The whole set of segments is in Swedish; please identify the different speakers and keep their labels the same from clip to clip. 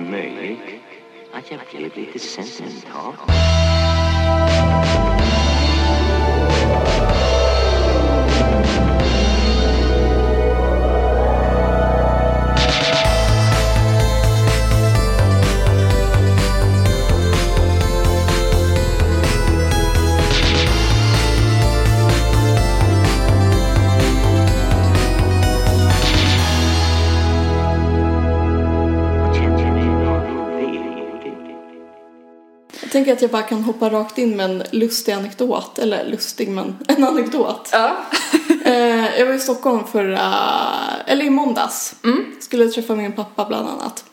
Speaker 1: möjligt att jag blev lite sentimental. Och kände mig väldigt
Speaker 2: Jag tänker att jag bara kan hoppa rakt in med en lustig anekdot. Eller lustig, men en anekdot.
Speaker 3: Ja.
Speaker 2: Eh, jag var i Stockholm förra, eller i måndags. Skulle träffa min pappa bland annat.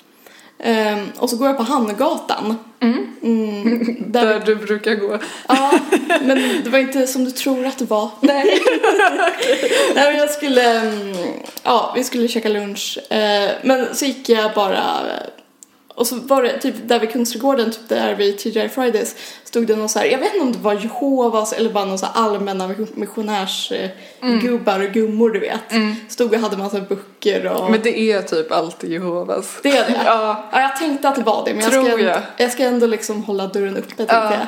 Speaker 2: Ehm, och så går jag på Hamngatan. Mm,
Speaker 3: Där
Speaker 2: där,
Speaker 3: du brukar gå.
Speaker 2: ja, men det var inte som du tror att det var.
Speaker 3: Nej.
Speaker 2: Nej men jag skulle, mm, ja vi skulle käka lunch. Eh, men så gick jag bara eh, och så var det typ där vid Kungsträdgården, typ där vid TGI Fridays, stod det någon så här, jag vet inte om det var Jehovas eller bara någon så här allmänna missionärsgubbar och gummor du vet. Stod och hade massa böcker och
Speaker 3: Mm. Men det är typ alltid Jehovas.
Speaker 2: det är det.
Speaker 3: Ja.
Speaker 2: ja, jag tänkte att det var det men jag
Speaker 3: Tror
Speaker 2: ska,
Speaker 3: jag.
Speaker 2: jag ska ändå liksom hålla dörren uppe tänkte
Speaker 3: Ja.
Speaker 2: jag.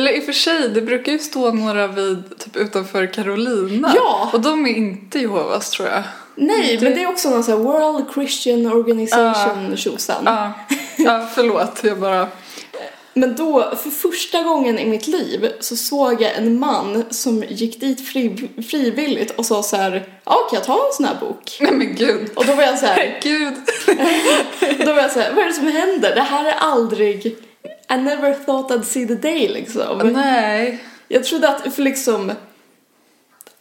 Speaker 3: Eller i och för sig, det brukar ju stå några vid typ utanför Carolina.
Speaker 2: Ja. Mm.
Speaker 3: Och de är inte Jehovas tror jag.
Speaker 2: Nej, men det är också någon så här World Christian Organization tjosan.
Speaker 3: Ja. Ja, förlåt. Jag bara...
Speaker 2: Men då, för första gången i mitt liv, så såg jag en man som gick dit fri, frivilligt och sa så här, ja kan jag ta en sån här bok?
Speaker 3: Nej men gud.
Speaker 2: Och då var jag så här,
Speaker 3: Gud.
Speaker 2: då var jag så här vad är det som händer? Det här är aldrig, I never thought I'd see the day liksom.
Speaker 3: Nej.
Speaker 2: Jag trodde att, för liksom,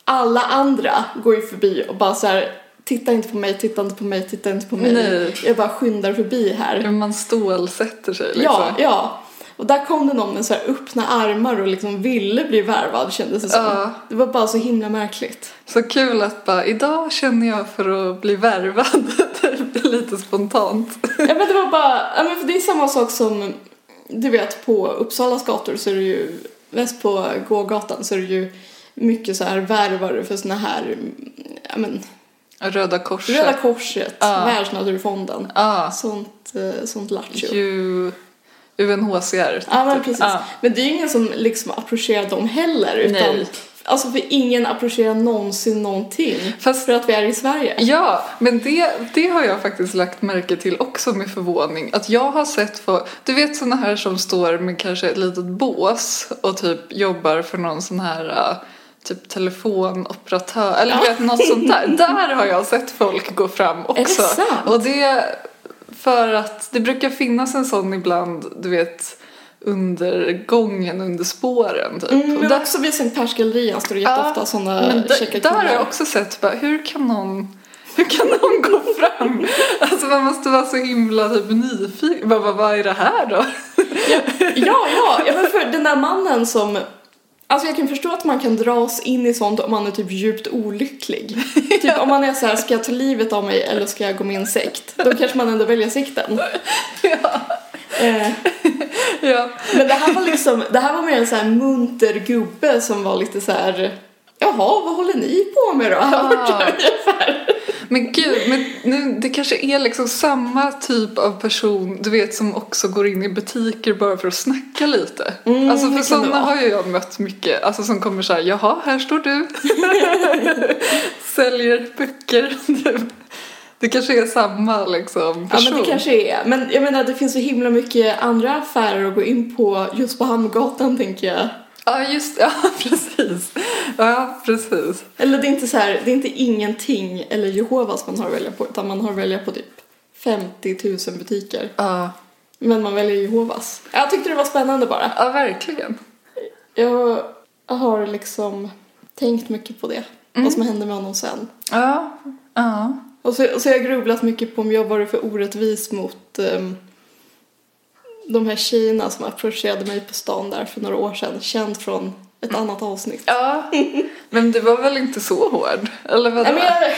Speaker 2: alla andra går ju förbi och bara så här, titta inte på mig, titta inte på mig, titta inte på mig.
Speaker 3: Nej.
Speaker 2: Jag bara skyndar förbi här.
Speaker 3: Man stålsätter sig liksom.
Speaker 2: Ja, ja. Och där kom det någon med så här öppna armar och liksom ville bli värvad kändes det som.
Speaker 3: Ja.
Speaker 2: Det var bara så himla märkligt.
Speaker 3: Så kul att bara, idag känner jag för att bli värvad. Typ, Det är lite spontant.
Speaker 2: ja, men det var bara, ja, men för det är samma sak som, du vet på Uppsalas gator så är det ju, mest på gågatan så är det ju mycket så här värvare för såna här, mm, ja men,
Speaker 3: Röda korset.
Speaker 2: Röda Korset,
Speaker 3: Ja.
Speaker 2: Världsnaturfonden,
Speaker 3: Ja.
Speaker 2: sånt, eh, sånt lattjo.
Speaker 3: Ju... UNHCR. typ.
Speaker 2: Ja men precis.
Speaker 3: Ja.
Speaker 2: Men det är ju ingen som liksom approcherar dem heller utan
Speaker 3: Nej.
Speaker 2: Alltså för ingen approcherar någonsin någonting
Speaker 3: Fast-
Speaker 2: för att vi är i Sverige.
Speaker 3: Ja, men det, det har jag faktiskt lagt märke till också med förvåning. Att jag har sett, för, du vet sådana här som står med kanske ett litet bås och typ jobbar för någon sån här eh, typ telefonoperatör eller du vet något sånt där. Där har jag sett folk gå fram också.
Speaker 2: det sant?
Speaker 3: Och det för att det brukar finnas en sån ibland, du vet under gången, under spåren typ.
Speaker 2: Mm,
Speaker 3: Och
Speaker 2: men
Speaker 3: där-
Speaker 2: också vid Sankt Persgallerian står det jätteofta
Speaker 3: Ja, men
Speaker 2: sådana
Speaker 3: d-
Speaker 2: käcka
Speaker 3: Där har jag
Speaker 2: killar.
Speaker 3: också sett, bara, hur kan någon hur kan någon gå fram? Alltså man måste vara så himla typ nyfiken. Bara, Vad, vad är det här då?
Speaker 2: Ja, ja, ja, men för den där mannen som... Alltså jag kan förstå att man kan dras in i sånt om man är typ djupt olycklig. Typ om man är så här, ska jag ta livet av mig eller ska jag gå med i en sekt? Då kanske man ändå väljer sekten. Eh,
Speaker 3: Ja,
Speaker 2: Men det här var liksom, det här var mer en så här munter gubbe som var lite så här. Jaha, vad håller ni på med då? här borta?"
Speaker 3: Ah. Men gud, men nu, det kanske är liksom samma typ av person du vet som också går in i butiker bara för att snacka lite.
Speaker 2: Mm,
Speaker 3: alltså
Speaker 2: det
Speaker 3: för
Speaker 2: kan det
Speaker 3: sådana
Speaker 2: vara.
Speaker 3: har ju jag mött mycket. Alltså som kommer så här, jaha, här står du. Säljer böcker. det kanske är samma liksom
Speaker 2: Ja
Speaker 3: person.
Speaker 2: men det kanske är. Men jag menar det finns så himla mycket andra affärer att gå in på just på Hamngatan tänker jag.
Speaker 3: Ja, just Ja, precis. Ja, precis.
Speaker 2: Eller det är inte så här, det är inte ingenting eller Jehovas man har att välja på utan man har att välja på typ 50 000 butiker.
Speaker 3: Ja,
Speaker 2: Men man väljer Jehovas. Jag tyckte det var spännande bara.
Speaker 3: ja verkligen.
Speaker 2: Jag har liksom tänkt mycket på det. Vad som hände med honom sen.
Speaker 3: Ja, ja.
Speaker 2: Och så, och så har jag grubblat mycket på om jag varit för orättvis mot ehm, de här tjejerna som approcherade mig på stan där för några år sedan. Känd från
Speaker 3: Mm.
Speaker 2: ett annat avsnitt.
Speaker 3: Ja, men du var väl inte så hård? Eller vadå?
Speaker 2: Nej, men jag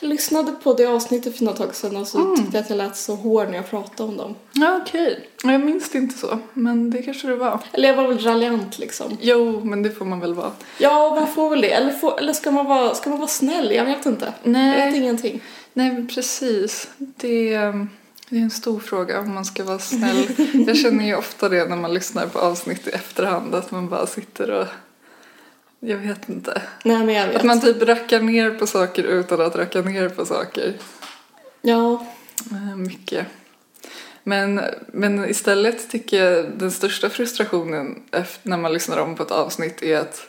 Speaker 2: lyssnade på det avsnittet för något tag sedan och så
Speaker 3: Mm.
Speaker 2: tyckte jag att jag lät så hård när jag pratade om dem.
Speaker 3: Ja, okej. Jag minns det inte så, men det kanske det var.
Speaker 2: Eller jag var väl raljant liksom.
Speaker 3: Jo, men det får man väl vara.
Speaker 2: Ja, man får väl det. Eller, får, eller ska, man vara,
Speaker 3: Eh.
Speaker 2: ska man vara snäll? Jag vet inte. Jag
Speaker 3: Nej.
Speaker 2: vet ingenting.
Speaker 3: Nej, men precis. Det... ehm, Det är en stor fråga om man ska vara snäll. Jag känner ju ofta det när man lyssnar på avsnitt i efterhand att man bara sitter och... Jag vet inte.
Speaker 2: Nej, men jag vet.
Speaker 3: Att man typ rackar ner på saker utan att racka ner på saker.
Speaker 2: Ja,
Speaker 3: Eh, Mycket. Men, men istället tycker jag den största frustrationen eft- när man lyssnar om på ett avsnitt är att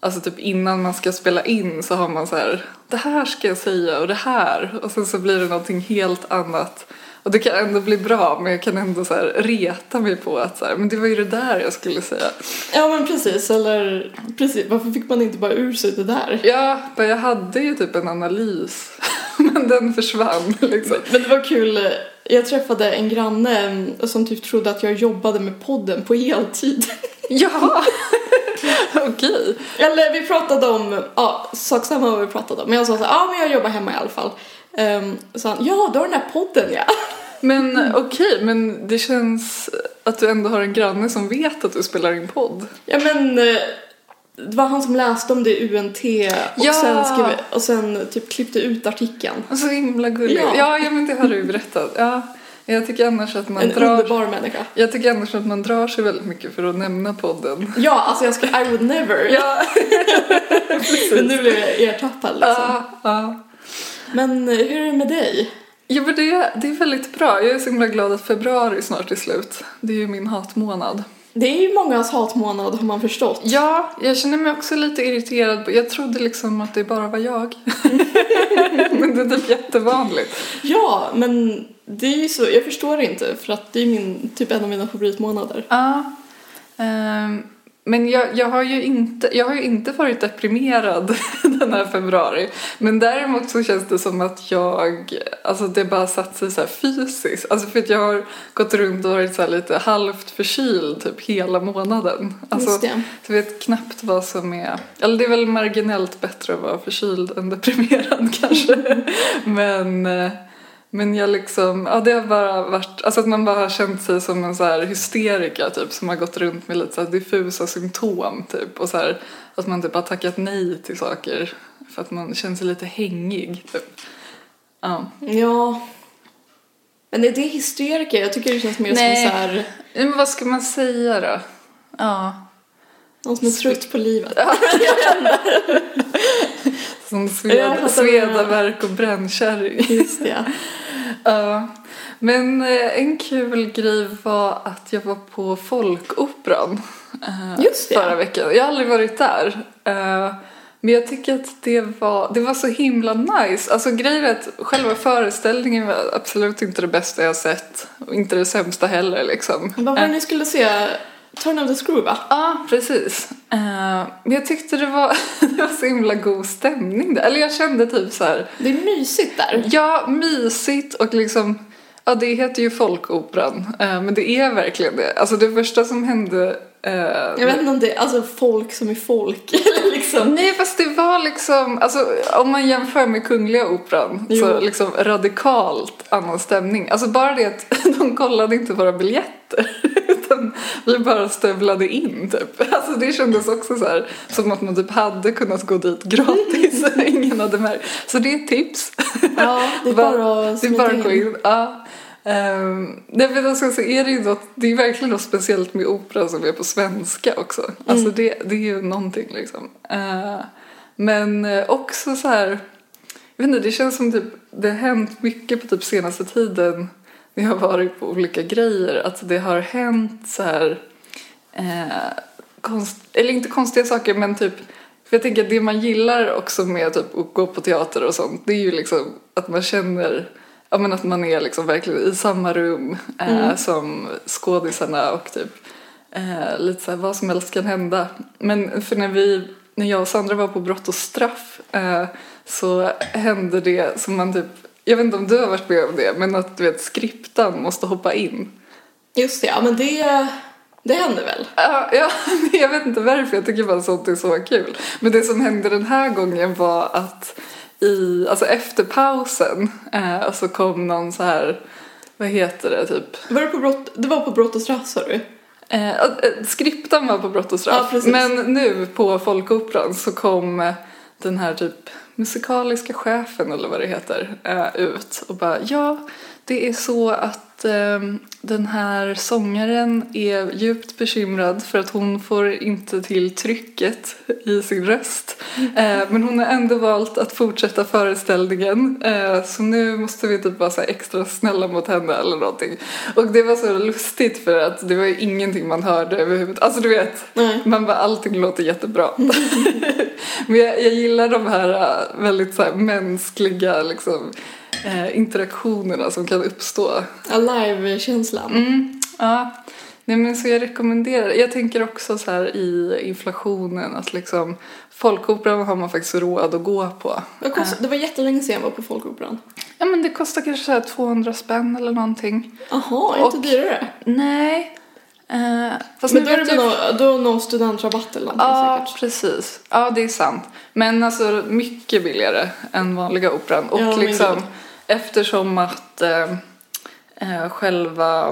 Speaker 3: alltså typ innan man ska spela in så har man så här det här ska jag säga och det här och sen så blir det någonting helt annat och det kan ändå bli bra men jag kan ändå så här reta mig på att så här, men det var ju det där jag skulle säga.
Speaker 2: ja men precis. Eller precis, varför fick man inte bara ur sig det där?
Speaker 3: Ja, men jag hade ju typ en analys men den försvann liksom.
Speaker 2: Men det var kul. Jag träffade en granne mm, som typ trodde att jag jobbade med podden på heltid.
Speaker 3: Ja, okej.
Speaker 2: Eller vi pratade om, ja, sak samma vad vi pratade om. Men jag sa så här, ja men jag jobbar hemma i alla fall. Um, så han, ja du har den där podden ja.
Speaker 3: Men okej, men det känns att du ändå har en granne som vet att du spelar in podd.
Speaker 2: Ja men eh, det var han som läste om det i UNT och,
Speaker 3: Ja!
Speaker 2: sen, skrev, och sen typ klippte ut artikeln.
Speaker 3: Så himla gulligt.
Speaker 2: Ja.
Speaker 3: Ja, ja men det har du ju berättat. Ja, jag tycker annars att man
Speaker 2: En
Speaker 3: drar...
Speaker 2: underbar människa.
Speaker 3: Jag tycker annars att man drar sig väldigt mycket för att nämna podden.
Speaker 2: Ja, alltså jag ska, I would never.
Speaker 3: Ja,
Speaker 2: men nu blev jag ertappad liksom.
Speaker 3: ja, ja.
Speaker 2: Men eh, hur är det med dig?
Speaker 3: ja men det, det är väldigt bra. Jag är så himla glad att februari snart är slut. Det är ju min hatmånad.
Speaker 2: Det är ju mångas hatmånad har man förstått.
Speaker 3: Ja, jag känner mig också lite irriterad. på- Jag trodde liksom att det bara var jag. men det är typ jättevanligt.
Speaker 2: Ja, men det är ju så, jag förstår inte för att det är min, typ en av mina favoritmånader.
Speaker 3: Ja. Ehm, men jag, jag, har ju inte, jag har ju inte varit deprimerad den här februari. Men däremot så känns det som att jag, alltså det bara satt sig så här fysiskt. Alltså för att jag har gått runt och varit så här lite halvt förkyld typ hela månaden. Alltså,
Speaker 2: Just det.
Speaker 3: Så jag vet knappt vad som är, eller det är väl marginellt bättre att vara förkyld än deprimerad kanske. men, eh, men jag liksom, ja det har bara varit, alltså att man bara har känt sig som en så här hysteriker typ som har gått runt med lite så här diffusa symptom typ och så här att man typ har tackat nej till saker för att man känner sig lite hängig typ. Ja.
Speaker 2: Ja. Men är det hysteriker? Jag tycker det känns mer
Speaker 3: Nej.
Speaker 2: som så här,
Speaker 3: Men vad ska man säga då? Ja.
Speaker 2: någon som är trött på livet.
Speaker 3: Som
Speaker 2: Jag
Speaker 3: sved,
Speaker 2: fattar vad du menar.
Speaker 3: svedavärk och brännkärring.
Speaker 2: Just det.
Speaker 3: Ja, men eh, en kul grej var att jag var på Folkoperan eh,
Speaker 2: Just det.
Speaker 3: förra veckan. Jag har aldrig varit där. Eh, Men jag tycker att det var, det var så himla nice. Alltså grejen är att själva föreställningen var absolut inte det bästa jag sett. Och inte det sämsta heller liksom.
Speaker 2: Vad var det ni skulle se? Turn of the Screw va?
Speaker 3: Ja, precis. Eh, Men jag tyckte det var, det var så himla god stämning där. Eller jag kände typ så här...
Speaker 2: Det är mysigt där.
Speaker 3: Ja, mysigt och liksom... Ja, det heter ju Folkoperan, eh, men det är verkligen det. Alltså det första som hände... eh,
Speaker 2: Jag vet inte om det är alltså folk som är folk eller liksom.
Speaker 3: Nej, fast det var liksom... Alltså, om man jämför med Kungliga Operan
Speaker 2: Jo.
Speaker 3: så liksom radikalt annan stämning. Alltså bara det att de kollade inte våra biljetter utan vi bara stövlade in typ. Alltså det kändes också så här som att man typ hade kunnat gå dit gratis. Ingen hade märkt. Så det är ett tips.
Speaker 2: Ja, det är bara att
Speaker 3: Det är bara
Speaker 2: smita
Speaker 3: att gå
Speaker 2: in.
Speaker 3: in. Ja. Um, nej men alltså, så är det ju något, det är verkligen något speciellt med opera som är på svenska också.
Speaker 2: Mm.
Speaker 3: Alltså det, det är ju någonting liksom. Eh, men eh, också så här, jag vet inte, det känns som typ, det har hänt mycket på typ senaste tiden när jag har varit på olika grejer. Att det har hänt så här, eh, konst, eller inte konstiga saker men typ för jag tänker att det man gillar också med typ att gå på teater och sånt det är ju liksom att man känner ja, men att man är liksom verkligen i samma rum eh, som skådisarna och typ eh, lite så här, vad som helst kan hända. Men för när vi när jag och Sandra var på Brott och straff eh, så hände det som man typ jag vet inte om du har varit med om det men att du vet skriptan måste hoppa in.
Speaker 2: Just det, ja men det, det händer väl.
Speaker 3: Ja, ja, jag vet inte varför, jag tycker bara sånt är så kul. Men det som hände den här gången var att i, alltså efter pausen eh, så kom någon så här, vad heter det typ?
Speaker 2: Var det, på brott, det var på brott och straff sa du?
Speaker 3: Eh, eh, skriptan var på Brott och straff.
Speaker 2: Ja, precis.
Speaker 3: men nu på Folkoperan så kom eh, den här typ musikaliska chefen eller vad det heter eh, ut och bara ja, Det är så att ehm, den här sångaren är djupt bekymrad för att hon får inte till trycket i sin röst. Eh, men hon har ändå valt att fortsätta föreställningen. Eh, så nu måste vi typ vara så här extra snälla mot henne eller någonting. Och det var så lustigt för att det var ju ingenting man hörde överhuvudtaget. Alltså du vet,
Speaker 2: Nej.
Speaker 3: man bara allting låter jättebra. Men jag, jag gillar de här äh, väldigt så här, mänskliga liksom, eh, interaktionerna som kan uppstå.
Speaker 2: Alive-känslan.
Speaker 3: Mm, ja. Nej, men så jag rekommenderar. Jag tänker också så här i inflationen att liksom folkoperan har man faktiskt råd att gå på.
Speaker 2: Vad kost- Det var jättelänge sedan jag var på Folkoperan.
Speaker 3: Ja men det kostar kanske så här 200 spänn eller någonting.
Speaker 2: Jaha, inte
Speaker 3: Och-
Speaker 2: dyrare?
Speaker 3: Nej. Eh, fast
Speaker 2: Men
Speaker 3: nu
Speaker 2: då är
Speaker 3: vet
Speaker 2: det
Speaker 3: jag-
Speaker 2: väl någon, då någon studentrabatt eller någonting
Speaker 3: Ja,
Speaker 2: säkert.
Speaker 3: precis. Ja, det är sant. Men alltså mycket billigare än vanliga operan. Och
Speaker 2: Ja, men
Speaker 3: liksom
Speaker 2: gud.
Speaker 3: eftersom att eh, eh, själva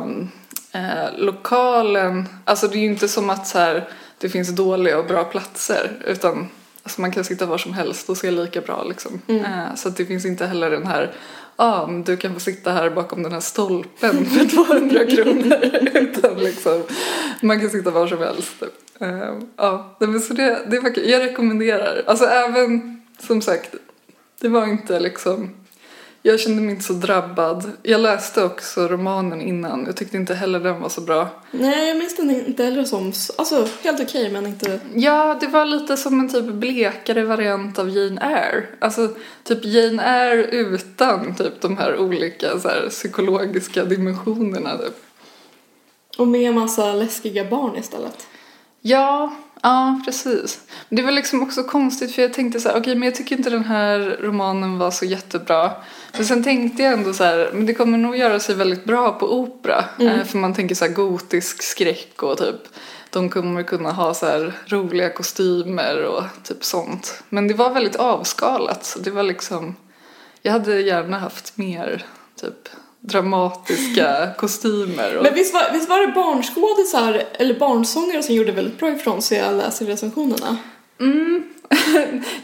Speaker 3: eh, lokalen, alltså det är ju inte som att så här, det finns dåliga och bra platser utan alltså, man kan sitta var som helst och se lika bra liksom. Eh, så att det finns inte heller den här Ja, men du kan få sitta här bakom den här stolpen för 200 kronor. Utan liksom, man kan sitta var som helst. typ. Eh, Ja, nej, men så det, det var kul. Jag rekommenderar. Alltså även, som sagt, det var inte liksom... Jag kände mig inte så drabbad. Jag läste också romanen innan. Jag tyckte inte heller den var så bra.
Speaker 2: Nej, jag minns den inte heller som... s- Alltså, helt okej men inte...
Speaker 3: Ja, det var lite som en typ blekare variant av Jane Eyre. Alltså typ Jane Eyre utan typ de här olika så här, psykologiska dimensionerna. Typ.
Speaker 2: Och med en massa läskiga barn istället.
Speaker 3: Ja, ja precis. Men det var liksom också konstigt för jag tänkte så här, okej men jag tycker inte den här romanen var så jättebra. Men sen tänkte jag ändå så här, men det kommer nog göra sig väldigt bra på opera. Eh, För man tänker så här gotisk skräck och typ de kommer kunna ha så här roliga kostymer och typ sånt. Men det var väldigt avskalat. Så det var liksom, jag hade gärna haft mer typ dramatiska kostymer. Och,
Speaker 2: Men visst var, visst var det barnskådisar, eller barnsångare som gjorde väldigt bra ifrån sig jag läser recensionerna?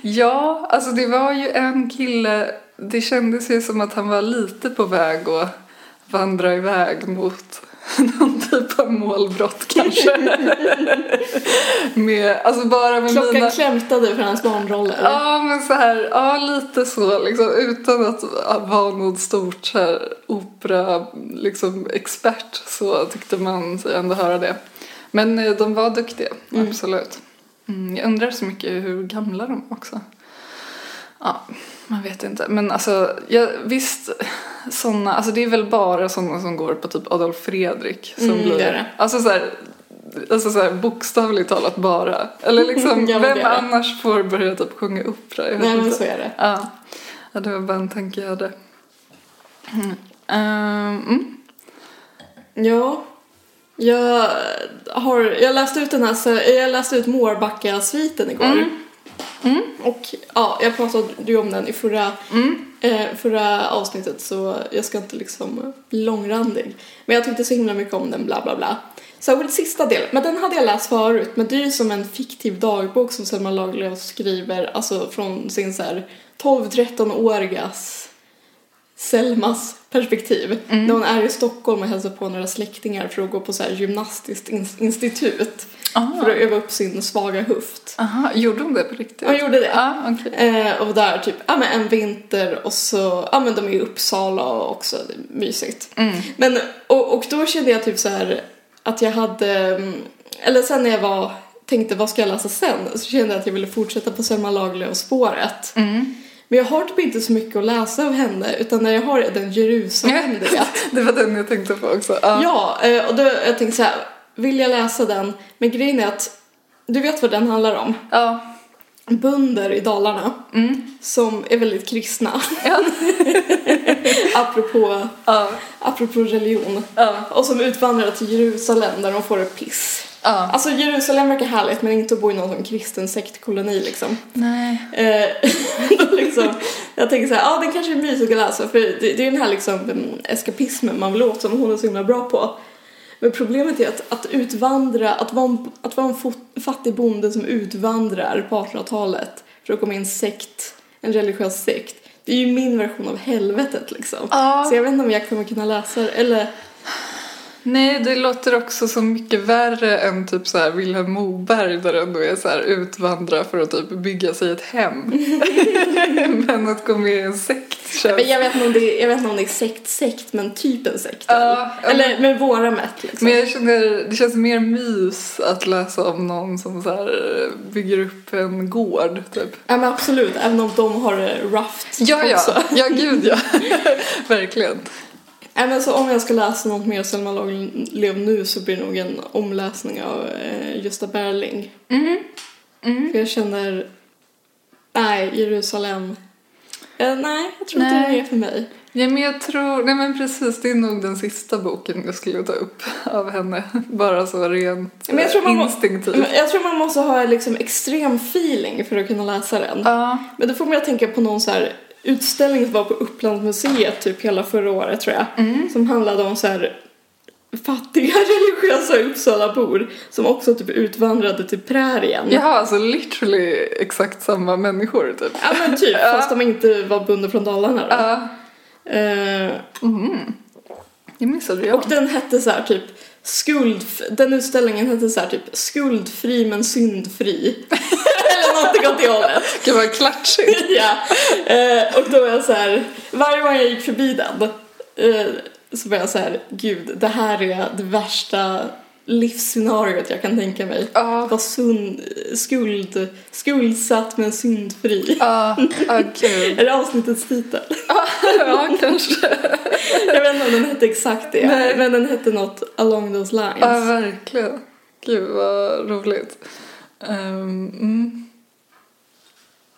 Speaker 3: Ja, alltså det var ju en kille, det kändes ju som att han var lite på väg att vandra iväg mot någon typ av målbrott kanske. med, alltså bara med
Speaker 2: Klockan
Speaker 3: mina...
Speaker 2: klämtade för hans barnroller.
Speaker 3: Ja, men så här, ja lite så liksom utan att vara någon stort så här, opera liksom expert så tyckte man sig ändå höra det. Men eh, de var duktiga, absolut. Mm, jag undrar så mycket hur gamla de var också. Ja, man vet inte. Men alltså, jag, visst, såna, alltså det är väl bara sådana som går på typ Adolf Fredrik som
Speaker 2: Mm,
Speaker 3: blir...
Speaker 2: det är det.
Speaker 3: Alltså så här, Alltså så här, bokstavligt talat bara. Eller liksom,
Speaker 2: Ja, men det
Speaker 3: vem
Speaker 2: är det.
Speaker 3: annars får börja typ sjunga opera? Jag vet
Speaker 2: Nej, men
Speaker 3: inte.
Speaker 2: så är det.
Speaker 3: Ja. ja, det var bara en tanke jag hade. Mm. Ehm, mm.
Speaker 2: Ja. Jag har, jag läste ut den här, så- jag läste ut Mårbacka-sviten igår. Och ja, jag pratade ju om den i förra,
Speaker 3: mm.
Speaker 2: eh, förra avsnittet så jag ska inte liksom bli långrandig. Men jag tyckte så himla mycket om den, bla bla bla. Särskilt sista delen, men den hade jag läst förut, men det är ju som en fiktiv dagbok som Selma Lagerlöf skriver, alltså från sin så här 12-13-årigas Selmas perspektiv. När hon är i Stockholm och hälsar på några släktingar för att gå på så här gymnastiskt ins- institut.
Speaker 3: Aha.
Speaker 2: För att öva upp sin svaga höft.
Speaker 3: Aha, gjorde hon det på riktigt?
Speaker 2: Hon gjorde det.
Speaker 3: Ja, okej.
Speaker 2: Eh, och där typ, ja men en vinter och så, ja men de är i Uppsala och också det är mysigt.
Speaker 3: Mm,
Speaker 2: Men, och, och då kände jag typ så här att jag hade, mm, eller sen när jag var, tänkte vad ska jag läsa sen? Så kände jag att jag ville fortsätta på Selma Lagerlöf-spåret.
Speaker 3: mm.
Speaker 2: Men jag har typ inte så mycket att läsa av henne utan när jag har den Jerusalem du vet.
Speaker 3: Det var den jag tänkte på också. Ja.
Speaker 2: Ja, eh, och då jag tänkte så här, vill jag läsa den? Men grejen är att du vet vad den handlar om?
Speaker 3: Ja.
Speaker 2: Bönder i Dalarna som är väldigt kristna. apropå,
Speaker 3: Ja.
Speaker 2: apropå religion.
Speaker 3: Ja.
Speaker 2: Och som utvandrar till Jerusalem där de får ett piss.
Speaker 3: Ja.
Speaker 2: Alltså Jerusalem verkar härligt men inte att bo i någon sån kristen sektkoloni liksom.
Speaker 3: Nej.
Speaker 2: Eh, då liksom, jag tänker så här, ja ah, den kanske är mysig att läsa för det, det är ju den här liksom mm, eskapismen man vill åt som hon är så himla bra på. Men problemet är att, att utvandra, att vara en, att vara en fot, fattig bonde som utvandrar på 1800-talet för att komma i en sekt, en religiös sekt, Det är ju min version av helvetet liksom.
Speaker 3: Ja.
Speaker 2: Så jag vet inte om jag kommer kunna läsa det. Eller
Speaker 3: Nej, det låter också så mycket värre än typ så här Vilhelm Moberg där det ändå är så här utvandra för att typ bygga sig ett hem. Men att gå med i en sekt känns...
Speaker 2: men jag vet inte om det är, jag vet inte om det är sekt, sekt, men typ en sekt.
Speaker 3: Ja, ja,
Speaker 2: eller med våra mätt liksom.
Speaker 3: Men jag känner, det känns mer mys att läsa om någon som så här eh, bygger upp en gård typ.
Speaker 2: Ja men absolut, även om de har det roughed
Speaker 3: Ja,
Speaker 2: också.
Speaker 3: ja, ja gud ja. Verkligen.
Speaker 2: Ja, men så om jag ska läsa något mer Selma Lagerlöf nu så blir det nog en omläsning av eh, Gösta Berling.
Speaker 3: Mm.
Speaker 2: För jag känner, nej, Jerusalem. Eh, nej, jag tror inte
Speaker 3: Nej.
Speaker 2: det är för mig.
Speaker 3: Ja, men jag tror, nej men precis, det är nog den sista boken jag skulle ta upp av henne. Bara så rent
Speaker 2: Men jag tror man
Speaker 3: eh,
Speaker 2: må-
Speaker 3: instinktivt.
Speaker 2: Men Jag tror man måste ha liksom extrem feeling för att kunna läsa den.
Speaker 3: Ja,
Speaker 2: Men då får man ju tänka på någon så här utställning som var på Upplandsmuseet typ hela förra året tror jag.
Speaker 3: Mm.
Speaker 2: Som handlade om så här fattiga religiösa Uppsalabor som också typ utvandrade till prärien.
Speaker 3: jaha, alltså literally exakt samma människor typ.
Speaker 2: Ja men typ,
Speaker 3: Ja.
Speaker 2: fast de inte var bönder från Dalarna då.
Speaker 3: Ja,
Speaker 2: Eh,
Speaker 3: det missade jag.
Speaker 2: och den hette så här typ skuld... Den utställningen hette så här typ skuldfri men syndfri. Eller någonting åt det hållet.
Speaker 3: Gud vad klatschigt.
Speaker 2: ja. Eh, och då var jag så här, varje gång jag gick förbi den eh, så var jag så här, gud, det här är det värsta livsscenariot jag kan tänka mig.
Speaker 3: Ja.
Speaker 2: Var sund, skuld, skuldsatt men syndfri.
Speaker 3: Ja, ja, kul.
Speaker 2: Är det avsnittets titel?
Speaker 3: Ja, kanske.
Speaker 2: Jag vet inte om den hette exakt det, men den hette något along those lines.
Speaker 3: Ja, verkligen. Gud vad roligt. Ehm, mm.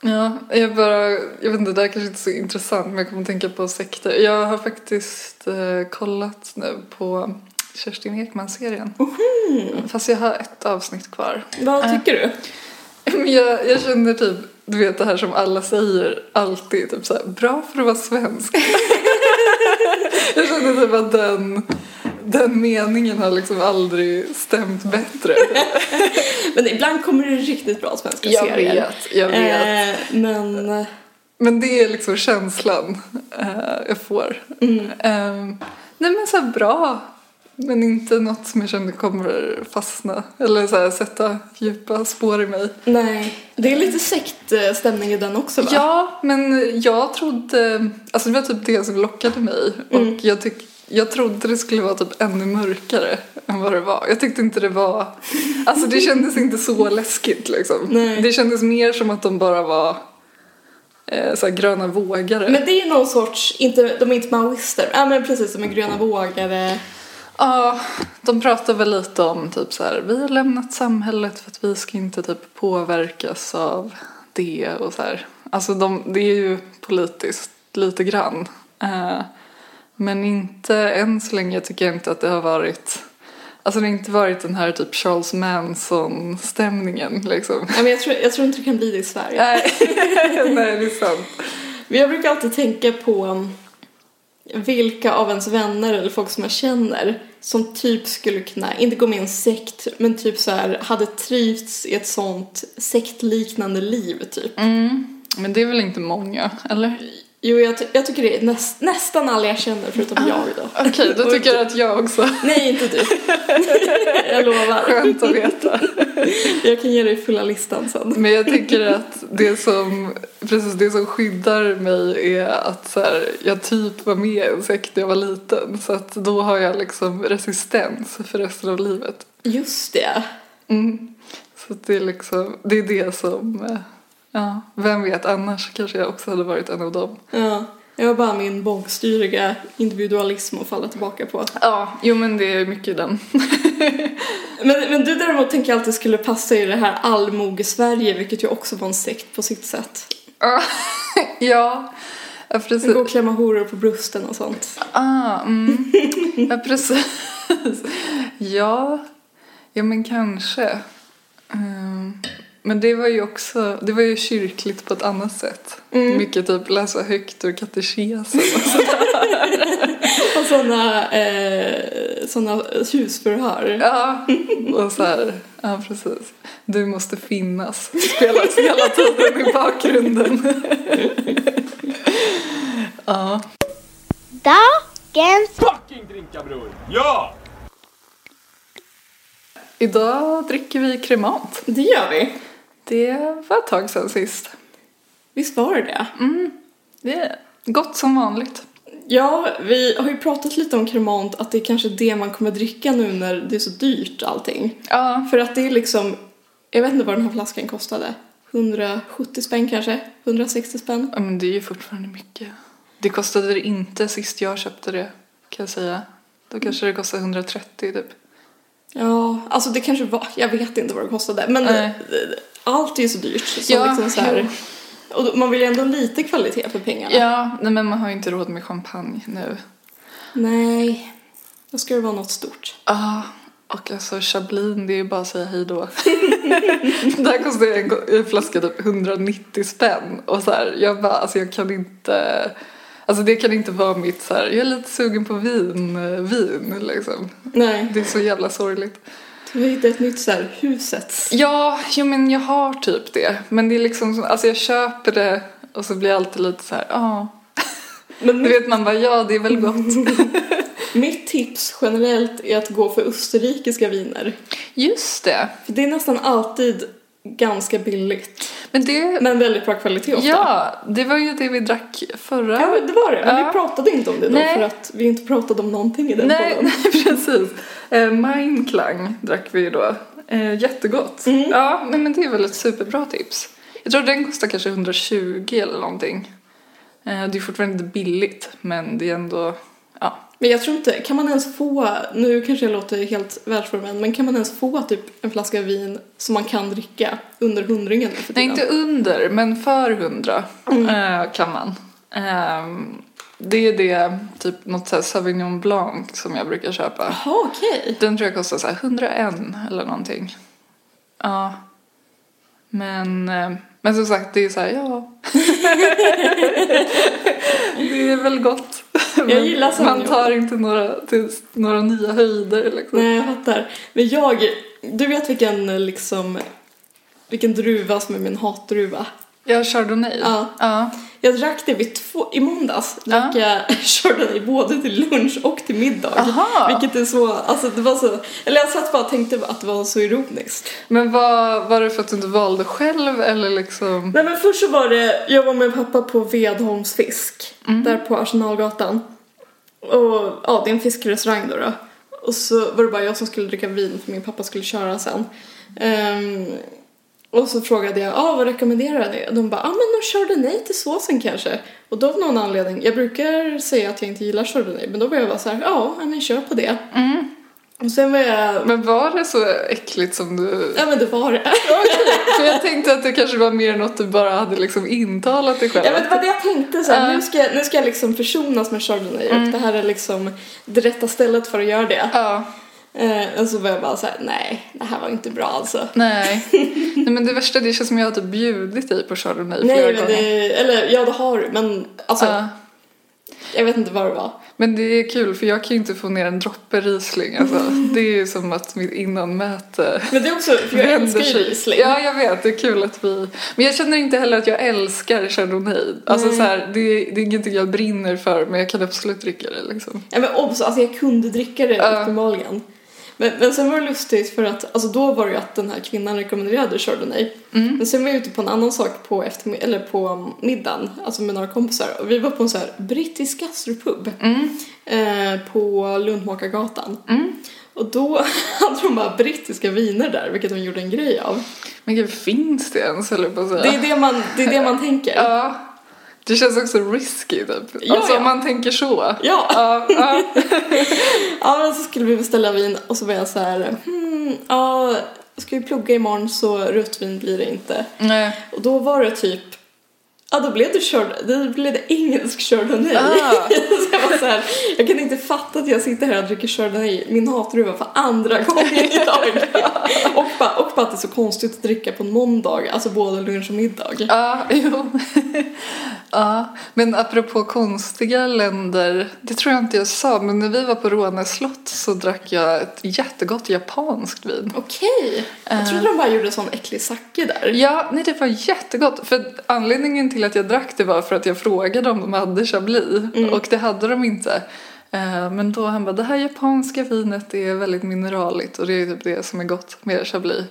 Speaker 3: Ja, jag bara, jag vet inte, det här kanske inte är så intressant men jag kommer att tänka på sekter. Jag har faktiskt eh, kollat nu på Kerstin Ekman-serien. Fast jag har ett avsnitt kvar.
Speaker 2: Vad tycker du?
Speaker 3: Men jag, jag känner typ, du vet det här som alla säger alltid, typ såhär, bra för att vara svensk. jag känner typ att den, den meningen har liksom aldrig stämt bättre.
Speaker 2: Men ibland kommer det riktigt bra svenska serier.
Speaker 3: jag vet.
Speaker 2: Eh, men eh,
Speaker 3: Men det är liksom känslan eh, jag får. Eh, nej men såhär bra, men inte något som jag känner kommer fastna eller såhär sätta djupa spår i mig.
Speaker 2: nej, det är lite sektstämning i den också va?
Speaker 3: Ja, men jag trodde... Alltså det var typ det som lockade mig.
Speaker 2: Mm.
Speaker 3: Och jag, tyck, jag trodde det skulle vara typ ännu mörkare än vad det var. Jag tyckte inte det var... Alltså det kändes inte så läskigt liksom.
Speaker 2: Nej.
Speaker 3: Det kändes mer som att de bara var eh, så här, gröna vågare.
Speaker 2: Men det är någon sorts, inte, de är inte maoister, ja men precis som en gröna vågare.
Speaker 3: Ja, de pratar väl lite om typ så här, vi har lämnat samhället för att vi ska inte typ påverkas av det och så här. Alltså de, det är ju politiskt lite grann. Eh, men inte än så länge tycker jag inte att det har varit, alltså det har inte varit den här typ Charles Manson-stämningen liksom.
Speaker 2: Ja, men jag, tror, jag tror inte det kan bli det i Sverige.
Speaker 3: Nej, nej det är sant.
Speaker 2: Men jag brukar alltid tänka på um, vilka av ens vänner eller folk som jag känner som typ skulle kunna, inte gå med i en sekt, men typ så här hade trivts i ett sånt sektliknande liv typ.
Speaker 3: Men det är väl inte många, eller?
Speaker 2: Jo, jag, ty- jag tycker det är näst, nästan alla jag känner förutom jag då.
Speaker 3: Okej, då tycker jag att jag också.
Speaker 2: Nej, inte du. jag lovar.
Speaker 3: Skönt att veta.
Speaker 2: Jag kan ge dig fulla listan sen.
Speaker 3: Men jag tycker att det som, precis det som skyddar mig är att så här, jag typ var med i en sekt när jag var liten. Så att då har jag liksom resistens för resten av livet.
Speaker 2: Just det.
Speaker 3: Mm. Så att det är liksom, det är det som, eh, ja, vem vet annars kanske jag också hade varit en av dem.
Speaker 2: Ja, jag har bara min bångstyriga individualism att falla tillbaka på.
Speaker 3: Ja, jo men det är mycket den.
Speaker 2: Men, men du däremot tänker jag alltid skulle passa i det här allmoge-Sverige, vilket ju också var en sekt på sitt sätt.
Speaker 3: ja, ja precis.
Speaker 2: Gå och klämma horor på brösten och sånt.
Speaker 3: Ah, mm. ja, precis. ja. ja, men kanske. Ehm, men det var ju också det var ju kyrkligt på ett annat sätt. Mycket typ läsa högt ur katekesen.
Speaker 2: Och såna, eh, såna husförhör.
Speaker 3: ja, och så här. Ja, precis. Du måste finnas. Spelas hela tiden i bakgrunden. Ja.
Speaker 4: Dagens
Speaker 5: fucking drinka bror! Ja!
Speaker 3: Idag dricker vi kremant.
Speaker 2: Det gör vi.
Speaker 3: Det var ett tag sedan sist.
Speaker 2: Visst var det det?
Speaker 3: Det är gott som vanligt.
Speaker 2: Ja, vi har ju pratat lite om kremant, att det är kanske det man kommer dricka nu när det är så dyrt allting.
Speaker 3: Ja,
Speaker 2: För att det är liksom, jag vet inte vad den här flaskan kostade. 170 spänn kanske? 160 spänn?
Speaker 3: Ja, men det är ju fortfarande mycket. Det kostade det inte sist jag köpte det, kan jag säga. Då kanske det kostade 130 typ.
Speaker 2: Ja, alltså det kanske var, jag vet inte vad det kostade. Men
Speaker 3: Nej.
Speaker 2: allt är ju så dyrt. Så
Speaker 3: Ja,
Speaker 2: liksom så här, och då- man vill ju ändå lite kvalitet för pengarna.
Speaker 3: Ja, nej men man har ju inte råd med champagne nu.
Speaker 2: Nej, då ska det vara något stort.
Speaker 3: Ja, och alltså Chablin, det är ju bara att säga hej då. Där kostade en, go- en flaska typ 190 spänn. Och så här, jag bara, alltså jag kan inte... Alltså det kan inte vara mitt så här, jag är lite sugen på vin, eh, vin liksom.
Speaker 2: Nej,
Speaker 3: Det är så jävla sorgligt.
Speaker 2: vi hittade ett nytt så här husets.
Speaker 3: Ja, jo men jag har typ det. Men det är liksom, så- alltså jag köper det och så blir jag alltid lite så här, ja.
Speaker 2: Men
Speaker 3: Du vet man bara, ja det är väl gott.
Speaker 2: Mitt tips generellt är att gå för österrikiska viner.
Speaker 3: Just det.
Speaker 2: För det är nästan alltid ganska billigt.
Speaker 3: Men det,
Speaker 2: Men väldigt bra kvalitet ofta.
Speaker 3: ja, det var ju det vi drack förra.
Speaker 2: Ja, men det var det. Men
Speaker 3: Ja.
Speaker 2: vi pratade inte om det då
Speaker 3: Nej.
Speaker 2: för att vi inte pratade om någonting i den
Speaker 3: nej,
Speaker 2: podden.
Speaker 3: nej, precis. Eh, Mindklang drack vi ju då. Eh, jättegott.
Speaker 2: Mm.
Speaker 3: Ja, nej, men det är väl ett superbra tips. Jag tror den kostar kanske 120 eller någonting. Eh, det är fortfarande inte billigt, men det är ändå, ja.
Speaker 2: Men jag tror inte, kan man ens få, nu kanske jag låter helt världsfrånvänd, men kan man ens få typ en flaska vin som man kan dricka under hundringen nu för
Speaker 3: Nej,
Speaker 2: tiden?
Speaker 3: inte under, men för hundra
Speaker 2: Mm.
Speaker 3: eh, kan man. Ehm, det är det, typ något så här Sauvignon Blanc som jag brukar köpa.
Speaker 2: Jaha, okej.
Speaker 3: Den tror jag kostar så här 101 eller någonting. Ja. Men, eh, men som sagt, det är så här, ja. det är väl gott. Men
Speaker 2: gillar
Speaker 3: Man
Speaker 2: Sauvignon.
Speaker 3: tar inte några, till några nya höjder liksom.
Speaker 2: Nej, jag fattar. Men jag, du vet vilken eh, liksom, vilken druva som är min hatdruva?
Speaker 3: Jag kör Chardonnay.
Speaker 2: Ja.
Speaker 3: ja.
Speaker 2: Jag drack det vid två, i måndags drack jag Chardonnay både till lunch och till middag.
Speaker 3: Aha.
Speaker 2: Vilket är så, alltså det var så, eller jag satt bara och tänkte att det var så ironiskt.
Speaker 3: Men vad var det för att du inte valde själv eller liksom?
Speaker 2: Nej men först så var det, jag var med pappa på Vedholms fisk, där på Arsenalgatan. Och ja, det är en fiskrestaurang då, då. Och så var det bara jag som skulle dricka vin för min pappa skulle köra sen. Ehm, och så frågade jag, ah, vad rekommenderar ni? Och de bara, ah men de körde nej till såsen kanske. Och då av någon anledning, jag brukar säga att jag inte gillar chardonnay, men då var jag bara så här, ja, men kör på det. Och sen var jag,
Speaker 3: Men var det så äckligt som du...
Speaker 2: ja men det var det.
Speaker 3: För jag tänkte att det kanske var mer något du bara hade liksom intalat dig själv.
Speaker 2: Ja men det var det jag tänkte såhär,
Speaker 3: Ja. Mm.
Speaker 2: nu, ska, jag- nu ska jag liksom försonas med Chardonnay och det här är liksom det rätta stället för att göra det.
Speaker 3: Ja,
Speaker 2: Eh, och så var jag bara såhär, nej det här var inte bra alltså.
Speaker 3: nej. nej men det värsta, det känns som jag har typ bjudit dig på Chardonnay flera
Speaker 2: Nej men
Speaker 3: gånger.
Speaker 2: det, eller ja det har du men alltså
Speaker 3: Ja.
Speaker 2: jag vet inte vad det var.
Speaker 3: Men det är kul för jag kan ju inte få ner en droppe Riesling alltså. Det är ju som att mitt innanmäte
Speaker 2: Men det är också, för jag älskar ju Riesling.
Speaker 3: Ja, jag vet. Det är kul att vi... Men jag känner inte heller att jag älskar Chardonnay. Alltså så här, det, det är ingenting jag brinner för men jag kan absolut dricka det liksom.
Speaker 2: Ja, men obs, alltså jag kunde dricka det
Speaker 3: Ja.
Speaker 2: uppenbarligen. Men, men sen var det lustigt för att, alltså då var det ju att den här kvinnan rekommenderade Chardonnay.
Speaker 3: Mm.
Speaker 2: Men sen var jag ute på en annan sak på, eftermid- eller på um, middagen, alltså med några kompisar. Och vi var på en så här brittisk gastrupub
Speaker 3: Mm.
Speaker 2: eh, på Lundmakargatan. Och då hade de bara brittiska viner där, vilket de gjorde en grej av.
Speaker 3: Men gud, finns det ens höll jag på att säga.
Speaker 2: Det är det man, det, är det man tänker.
Speaker 3: Ja. Det känns också risky typ.
Speaker 2: Ja,
Speaker 3: alltså
Speaker 2: ja.
Speaker 3: om man tänker så.
Speaker 2: Ja.
Speaker 3: Ja, ja.
Speaker 2: Ja, men så skulle vi beställa vin och så var jag så här, hmm, ja, ska vi plugga imorgon så rött vin blir det inte.
Speaker 3: Nej.
Speaker 2: Och då var det typ, ja då blev det, körd, det, blev det engelsk chardonnay.
Speaker 3: Ah.
Speaker 2: så jag var så här, jag kan inte fatta att jag sitter här och dricker chardonnay, min hatdruva för andra gången idag. och, bara, och bara att det är så konstigt att dricka på en måndag, alltså både lunch och middag.
Speaker 3: Ja, jo. Ja, men apropå konstiga länder, det tror jag inte jag sa, men när vi var på Råne slott så drack jag ett jättegott japanskt vin.
Speaker 2: Okej. Jag trodde de bara gjorde sån äcklig sake där.
Speaker 3: Ja, nej det var jättegott. För anledningen till att jag drack det var för att jag frågade om de hade chablis och det hade de inte. Eh, Men då han bara, det här japanska vinet det är väldigt mineraligt och det är typ det som är gott med chablis.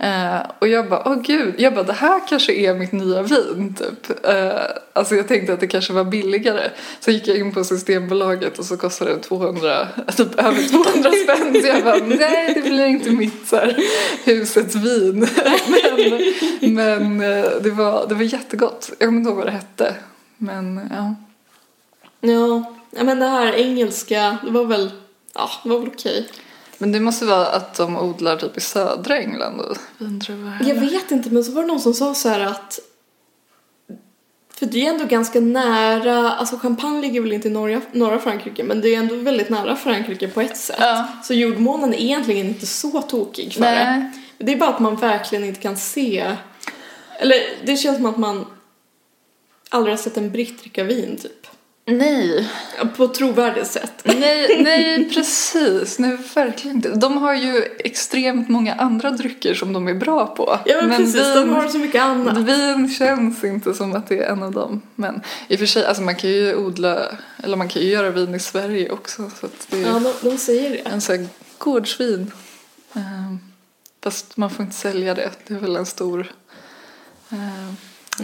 Speaker 3: Eh, och jag bara, åh gud, jag bara, det här kanske är mitt nya vin typ. Eh, alltså jag tänkte att det kanske var billigare. Så gick jag in på Systembolaget och så kostade det 200, typ över 200 spänn. Så jag bara, nej det blir inte mitt så här, husets vin. men men eh, det, var, det var jättegott. Jag kommer inte ihåg vad det hette. Men ja.
Speaker 2: Ja. ja, men det här engelska, det var väl, ja, det var väl okej.
Speaker 3: Men det måste vara att de odlar typ i södra England och vindruvor.
Speaker 2: Jag vet inte, men så var det någon som sa så här att för det är ändå ganska nära, alltså champagne ligger väl inte i norra, norra Frankrike men det är ändå väldigt nära Frankrike på ett sätt.
Speaker 3: Ja.
Speaker 2: Så jordmånen är egentligen inte så tokig för
Speaker 3: Nej.
Speaker 2: det. Det är bara att man verkligen inte kan se, eller det känns som att man aldrig har sett en britt dricka vin typ.
Speaker 3: Nej.
Speaker 2: På ett trovärdigt sätt.
Speaker 3: Nej, nej precis. Nej, verkligen inte. De har ju extremt många andra drycker som de är bra på.
Speaker 2: Ja men, precis, de har så mycket
Speaker 3: Mm.
Speaker 2: annat.
Speaker 3: Vin känns inte som att det är en av dem. Men i och för sig, alltså man kan ju odla, eller man kan ju göra vin i Sverige också. Så att det är
Speaker 2: Ja, de, de säger det.
Speaker 3: en sån här gårdsvin. Ehm, fast man får inte sälja det. Det är väl en stor ehm,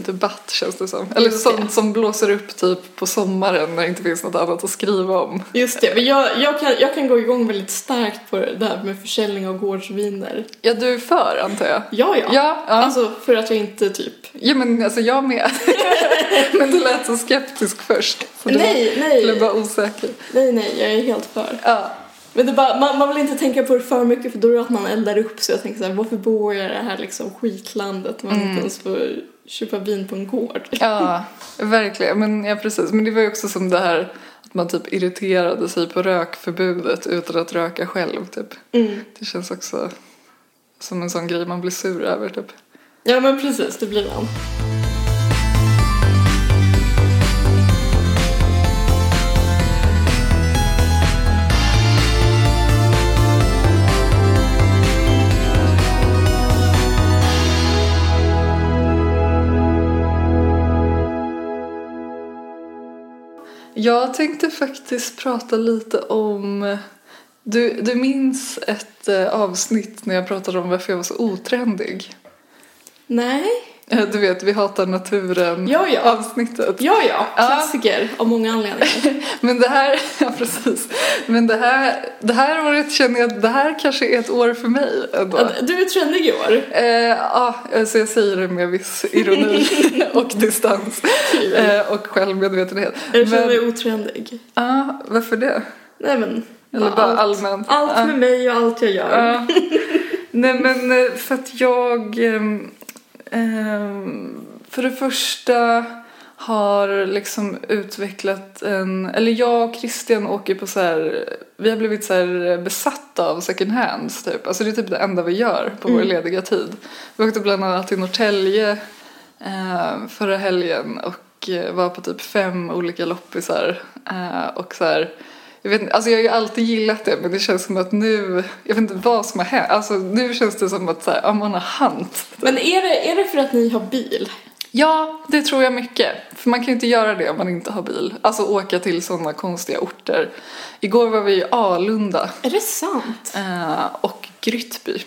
Speaker 3: debatt känns det som. Eller
Speaker 2: Just det.
Speaker 3: sånt som blåser upp typ på sommaren när det inte finns något annat att skriva om.
Speaker 2: Just det, men jag, jag, kan, jag kan gå igång väldigt starkt på det där med försäljning av gårdsviner.
Speaker 3: Ja, du är för antar jag?
Speaker 2: Ja, ja.
Speaker 3: Ja, ja.
Speaker 2: Alltså för att jag inte typ...
Speaker 3: ja men alltså jag med. men du lät så skeptisk först. Så du
Speaker 2: Nej,
Speaker 3: blev
Speaker 2: nej,
Speaker 3: bara osäker.
Speaker 2: nej, nej, jag är helt för.
Speaker 3: Ja.
Speaker 2: Men det är bara, man, man vill inte tänka på det för mycket för då är det att man eldar upp så jag tänker så här, varför bor jag i det här liksom skitlandet man inte ens får köpa vin på en gård?
Speaker 3: Ja, verkligen. Men, ja, precis. Men det var ju också som det här att man typ irriterade sig på rökförbudet utan att röka själv. Typ.
Speaker 2: Mm.
Speaker 3: Det känns också som en sån grej man blir sur över. Typ.
Speaker 2: Ja men precis, det blir man.
Speaker 3: Jag tänkte faktiskt prata lite om... Du, du minns ett eh, avsnitt när jag pratade om varför jag var så otrendig?
Speaker 2: Nej.
Speaker 3: Eh, Du vet, vi hatar naturen
Speaker 2: Ja, ja.
Speaker 3: avsnittet.
Speaker 2: Ja, ja,
Speaker 3: Ja.
Speaker 2: klassiker av många anledningar.
Speaker 3: Men det här, ja precis. Men det här, det här året känner jag att det här kanske är ett år för mig ändå.
Speaker 2: Ja, Du är trendig i år.
Speaker 3: Eh, Ja, så jag säger det med viss ironi och distans eh, och självmedvetenhet.
Speaker 2: Jag känner
Speaker 3: Men,
Speaker 2: mig otrendig.
Speaker 3: ja, varför det?
Speaker 2: Nej men.
Speaker 3: Eller
Speaker 2: ja,
Speaker 3: bara
Speaker 2: allt,
Speaker 3: allmänt?
Speaker 2: allt med mig och allt jag gör.
Speaker 3: Ja. Nej men eh, för att jag ehm, ehm, för det första har liksom utvecklat en, eller jag och Christian åker på så här, vi har blivit så här besatta av second hands typ. Alltså det är typ det enda vi gör på vår lediga tid. Vi åkte bland annat till Norrtälje eh, förra helgen och eh, var på typ fem olika loppisar eh, och så här jag, vet, inte, alltså jag har ju alltid gillat det men det känns som att nu, jag vet inte vad som har hänt, alltså nu känns det som att så här, ja, man har hand.
Speaker 2: Men är det, är det för att ni har bil?
Speaker 3: Ja, det tror jag mycket. För man kan ju inte göra det om man inte har bil. Alltså åka till sådana konstiga orter. Igår var vi i Alunda
Speaker 2: Är det sant?
Speaker 3: eh, och Grytby.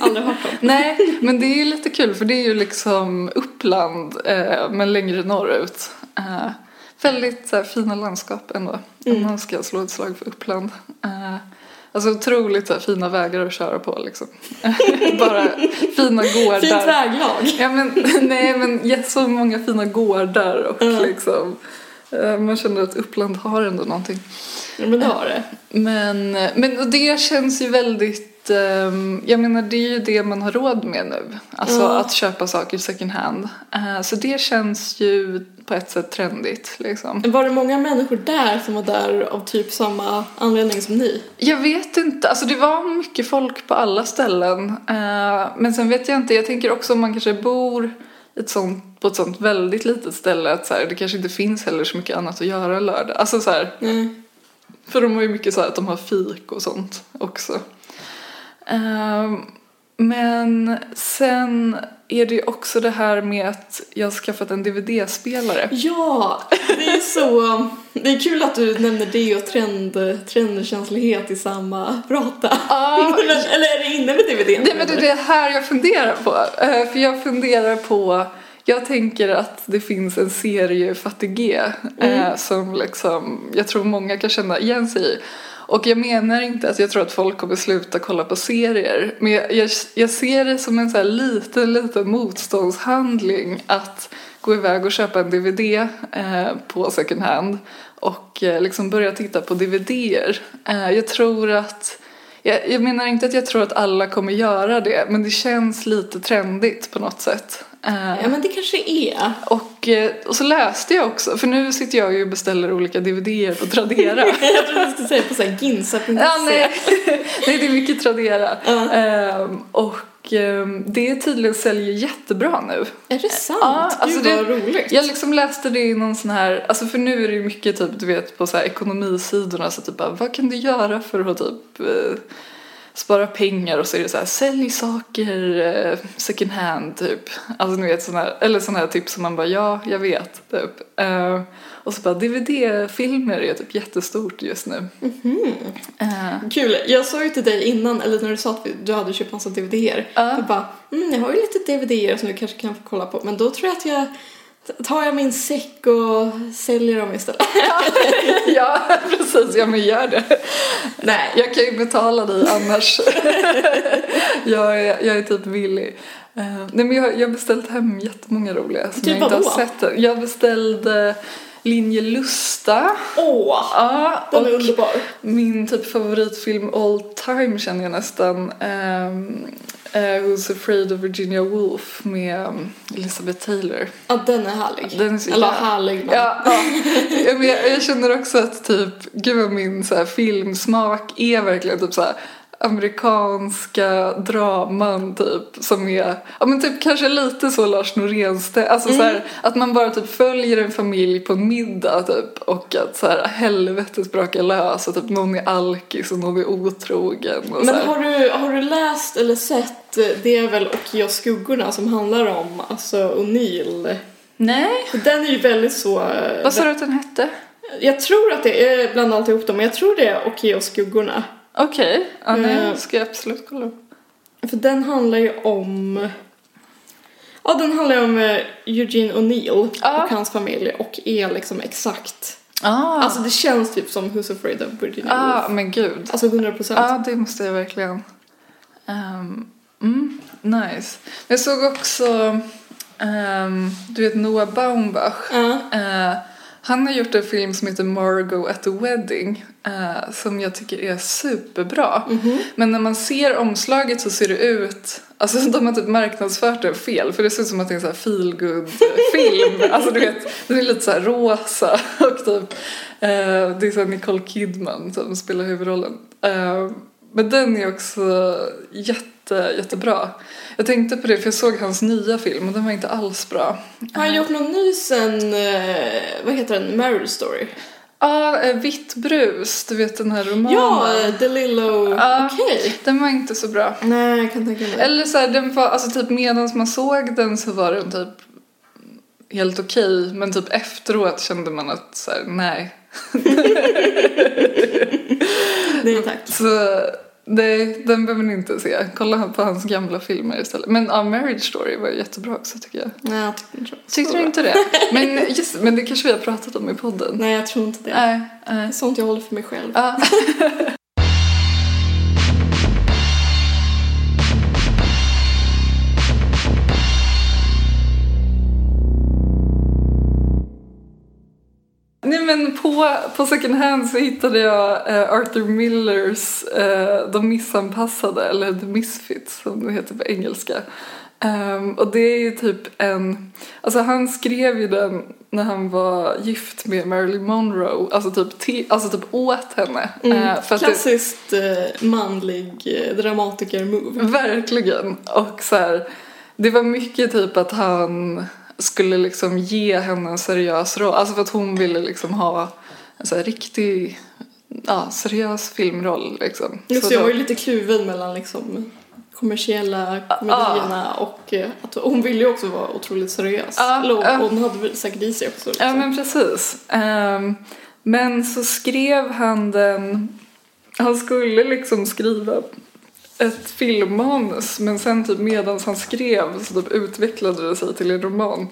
Speaker 2: Aldrig hört om.
Speaker 3: Nej, men det är ju lite kul för det är ju liksom Uppland eh, men längre norrut. Eh, väldigt så här, fina landskap ändå. Om man ska slå ett slag för Uppland. Eh, alltså otroligt så här, fina vägar att köra på liksom. Bara fina gårdar.
Speaker 2: Fint väglag.
Speaker 3: Ja, men, nej, men ja, så många fina gårdar och liksom, eh, man känner att Uppland har ändå någonting.
Speaker 2: Ja, men det har det.
Speaker 3: Men, men och det känns ju väldigt, ehm, jag menar det är ju det man har råd med nu. Alltså
Speaker 2: Ja.
Speaker 3: att köpa saker second hand. Eh, så det känns ju på ett sätt trendigt liksom.
Speaker 2: Var det många människor där som var där av typ samma anledning som ni?
Speaker 3: Jag vet inte, alltså det var mycket folk på alla ställen. Eh, men sen vet jag inte, jag tänker också om man kanske bor ett sånt, på ett sånt väldigt litet ställe att så här, det kanske inte finns heller så mycket annat att göra lördag. Alltså så här, För de har ju mycket så här att de har fik och sånt också. Ehm, men sen är det ju också det här med att jag har skaffat en DVD-spelare.
Speaker 2: Ja, det är så... Det är kul att du nämner det och trend, trendkänslighet i samma prata.
Speaker 3: Ja.
Speaker 2: Men, eller är det inne med DVDn?
Speaker 3: Nej men det är det här jag funderar på. Eh, För jag funderar på, jag tänker att det finns en serie Fattig G eh, som liksom, jag tror många kan känna igen sig i. Och jag menar inte att jag tror att folk kommer sluta kolla på serier. Men jag, jag, jag ser det som en så här liten, liten motståndshandling att gå iväg och köpa en DVD eh, på second hand och eh, liksom börja titta på DVDer. Eh, jag tror att jag, jag menar inte att jag tror att alla kommer göra det, men det känns lite trendigt på något sätt. Eh,
Speaker 2: Ja, men det kanske är.
Speaker 3: och, eh, och så läste jag också, för nu sitter jag ju och beställer olika DVDer på Tradera.
Speaker 2: Jag trodde du skulle säga på såhär ginsa.se.
Speaker 3: ja, nej. nej, det är mycket Tradera.
Speaker 2: Ja.
Speaker 3: Ehm, och ehm, det tydligen säljer jättebra nu.
Speaker 2: Är det sant?
Speaker 3: Ja, alltså
Speaker 2: Gud vad
Speaker 3: det-
Speaker 2: roligt.
Speaker 3: Jag liksom läste det i någon sån här, alltså för nu är det ju mycket typ du vet på så här ekonomisidorna så typ bara, vad kan du göra för att typ eh, spara pengar och så är det så här sälj saker eh, second hand typ. Alltså ni vet sån här, eller sån här tips som man bara ja, jag vet typ. Eh, och så bara DVD-filmer är typ jättestort just nu. Eh,
Speaker 2: Kul, jag sa ju till dig innan, eller när du sa att vi- du hade köpt massa DVDer.
Speaker 3: Ja.
Speaker 2: Du bara, mm, jag har ju lite DVDer som du kanske kan få kolla på. Men då tror jag att jag tar jag min säck och säljer dem istället.
Speaker 3: ja, precis, ja men gör det.
Speaker 2: Nej,
Speaker 3: Jag kan ju betala dig annars. jag, är, jag är typ villig. Eh, nej men jag, jag har beställt hem jättemånga roliga som
Speaker 2: Typ
Speaker 3: jag inte
Speaker 2: vadå?
Speaker 3: har sett än. Jag beställde Linje Lusta.
Speaker 2: åh!
Speaker 3: Ja,
Speaker 2: Den
Speaker 3: och
Speaker 2: är underbar.
Speaker 3: min typ favoritfilm all time känner jag nästan. ehm, eh, Who's Afraid of Virginia Woolf med um, Elizabeth Taylor.
Speaker 2: Ja, den är härlig.
Speaker 3: Den är så
Speaker 2: eller
Speaker 3: jävla-
Speaker 2: härlig, men...
Speaker 3: Ja, ja. Ja, men jag, jag känner också att typ, gud vad min så här, filmsmak är verkligen typ så här, amerikanska draman typ som är, ja men typ kanske lite så Lars Noréns, alltså så
Speaker 2: Mm.
Speaker 3: här, att man bara typ följer en familj på en middag typ och att så här helvetet brakar lös och typ någon är alkis och någon är otrogen och så
Speaker 2: Men
Speaker 3: här.
Speaker 2: har du, har du läst eller sett eh, Det är väl och jag skuggorna som handlar om alltså O'Neill?
Speaker 3: Nej.
Speaker 2: Den är ju väldigt så... eh,
Speaker 3: Vad sa du att den hette?
Speaker 2: Jag tror att det är bland alltihop dem, men jag tror det är och jag skuggorna.
Speaker 3: Okej, ja,
Speaker 2: Eh.
Speaker 3: nej, ska jag absolut kolla upp.
Speaker 2: För den handlar ju om... Ja, den handlar ju om eh, Eugene O'Neill
Speaker 3: Ja.
Speaker 2: och hans familj och är liksom exakt...
Speaker 3: Ah,
Speaker 2: Alltså det känns typ som Who's Afraid of Virginia
Speaker 3: ah,
Speaker 2: Woolf.
Speaker 3: men gud.
Speaker 2: Alltså 100 procent.
Speaker 3: Ja, det måste jag verkligen. Ehm, mm, nice. Jag såg också, ehm, du vet Noah Baumbach.
Speaker 2: Ja.
Speaker 3: Eh, han har gjort en film som heter Margot at the Wedding eh, som jag tycker är superbra. Men när man ser omslaget så ser det ut, alltså de har typ marknadsfört den fel för det ser ut som att det är en sån här feelgood film. alltså du vet, den är lite så här rosa och typ, eh, det är så här Nicole Kidman som spelar huvudrollen. Eh, men den är också jätte, jättebra. Jag tänkte på det för jag såg hans nya film och den var inte alls bra.
Speaker 2: Har han gjort någon ny sen, eh, vad heter den, Marriage Story?
Speaker 3: Ja, eh, Vitt brus, du vet den här romanen.
Speaker 2: Ja, eh, DeLillo,
Speaker 3: Ja.
Speaker 2: okej.
Speaker 3: Den var inte så bra.
Speaker 2: Nej, jag kan tänka mig.
Speaker 3: Eller så här, den var, alltså typ medan man såg den så var den typ helt okej. men typ efteråt kände man att så här, nej.
Speaker 2: Nej tack.
Speaker 3: Så nej, den behöver ni inte se. Kolla på hans gamla filmer istället. Men ja, Marriage Story var jättebra också tycker jag.
Speaker 2: Nej, jag tyckte inte det.
Speaker 3: Tyckte du inte det? Men, just, men det kanske vi har pratat om i podden.
Speaker 2: Nej, jag tror inte det.
Speaker 3: Nej, nej. eh,
Speaker 2: Sånt jag håller för mig själv.
Speaker 3: Ja. Nej men på, på second hand så hittade jag eh, Arthur Millers eh, De missanpassade, eller The Misfits som det heter på engelska. Ehm, och det är ju typ en, alltså han skrev ju den när han var gift med Marilyn Monroe, alltså typ, te, alltså typ åt henne.
Speaker 2: Mm,
Speaker 3: Eh, för att det-
Speaker 2: Klassiskt eh, manlig eh, dramatiker-move.
Speaker 3: Verkligen. Och så här, Det var mycket typ att han skulle liksom ge henne en seriös roll. Alltså för att hon ville liksom ha en så här riktig, ja, seriös filmroll liksom.
Speaker 2: Just
Speaker 3: så
Speaker 2: det, jag
Speaker 3: då-
Speaker 2: var ju lite kluven mellan liksom kommersiella
Speaker 3: Ah,
Speaker 2: komedierna och eh, att hon ville ju också vara otroligt seriös.
Speaker 3: Ja,
Speaker 2: Eller hon,
Speaker 3: ja.
Speaker 2: hon hade väl säkert i sig också. Liksom.
Speaker 3: Ah, Ja men precis. Ehm, men så skrev han den, han skulle liksom skriva ett filmmanus men sen typ medan han skrev så typ utvecklade det sig till en roman.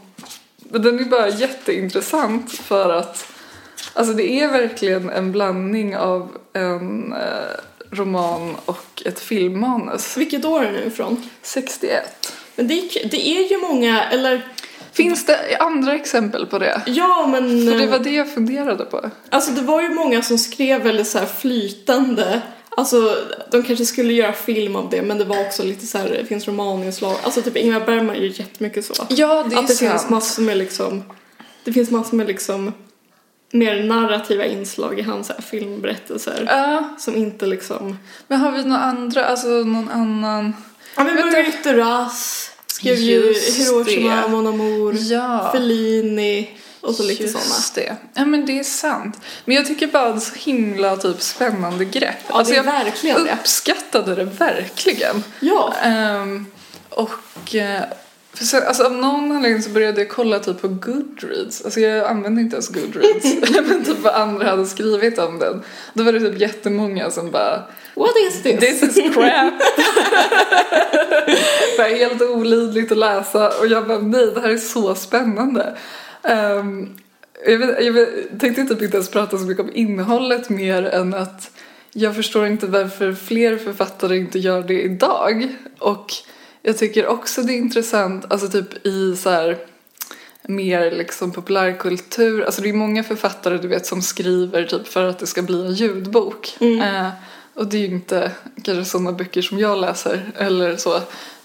Speaker 3: Men den är bara jätteintressant för att alltså det är verkligen en blandning av en eh, roman och ett filmmanus.
Speaker 2: Vilket år är den ifrån?
Speaker 3: 61.
Speaker 2: Men det, är- det är ju många, eller
Speaker 3: Finns det andra exempel på det?
Speaker 2: ja men...
Speaker 3: För det
Speaker 2: eh,
Speaker 3: var det jag funderade på.
Speaker 2: Alltså det var ju många som skrev väldigt så här flytande. Alltså de kanske skulle göra film av det men det var också lite så här, det finns romaninslag. Alltså typ Ingmar Bergman gör jättemycket så.
Speaker 3: Ja, det är
Speaker 2: att det
Speaker 3: sant.
Speaker 2: finns massor med liksom, det finns massor med liksom mer narrativa inslag i hans så här filmberättelser.
Speaker 3: Ja,
Speaker 2: Som inte liksom,
Speaker 3: men har vi några andra, alltså någon annan?
Speaker 2: ja men
Speaker 3: Vänta.
Speaker 2: Marguerite Duras skrev ju
Speaker 3: Just
Speaker 2: Hiroshima
Speaker 3: det.
Speaker 2: Mon Amour,
Speaker 3: Ja.
Speaker 2: Fellini och så lite sådana.
Speaker 3: Just det. Ja men det är sant. Men jag tycker bara det är ett så himla typ spännande grepp. Alltså,
Speaker 2: Ja, det är verkligen det.
Speaker 3: jag uppskattade det verkligen.
Speaker 2: Ja.
Speaker 3: Ehm, och eh, för sen, alltså av någon anledning så började jag kolla typ på Goodreads. Alltså jag använde inte ens Goodreads. men typ vad andra hade skrivit om den. Då var det typ jättemånga som bara
Speaker 2: What is this?
Speaker 3: This is crap! det är helt olidligt att läsa och jag bara nej det här är så spännande. Ehm, jag, vet, jag vet, tänkte typ inte ens prata så mycket om innehållet mer än att jag förstår inte varför fler författare inte gör det idag. Och jag tycker också det är intressant, alltså typ i så här mer liksom populärkultur. Alltså det är många författare du vet som skriver typ för att det ska bli en ljudbok. Eh, och det är ju inte kanske sådana böcker som jag läser eller så.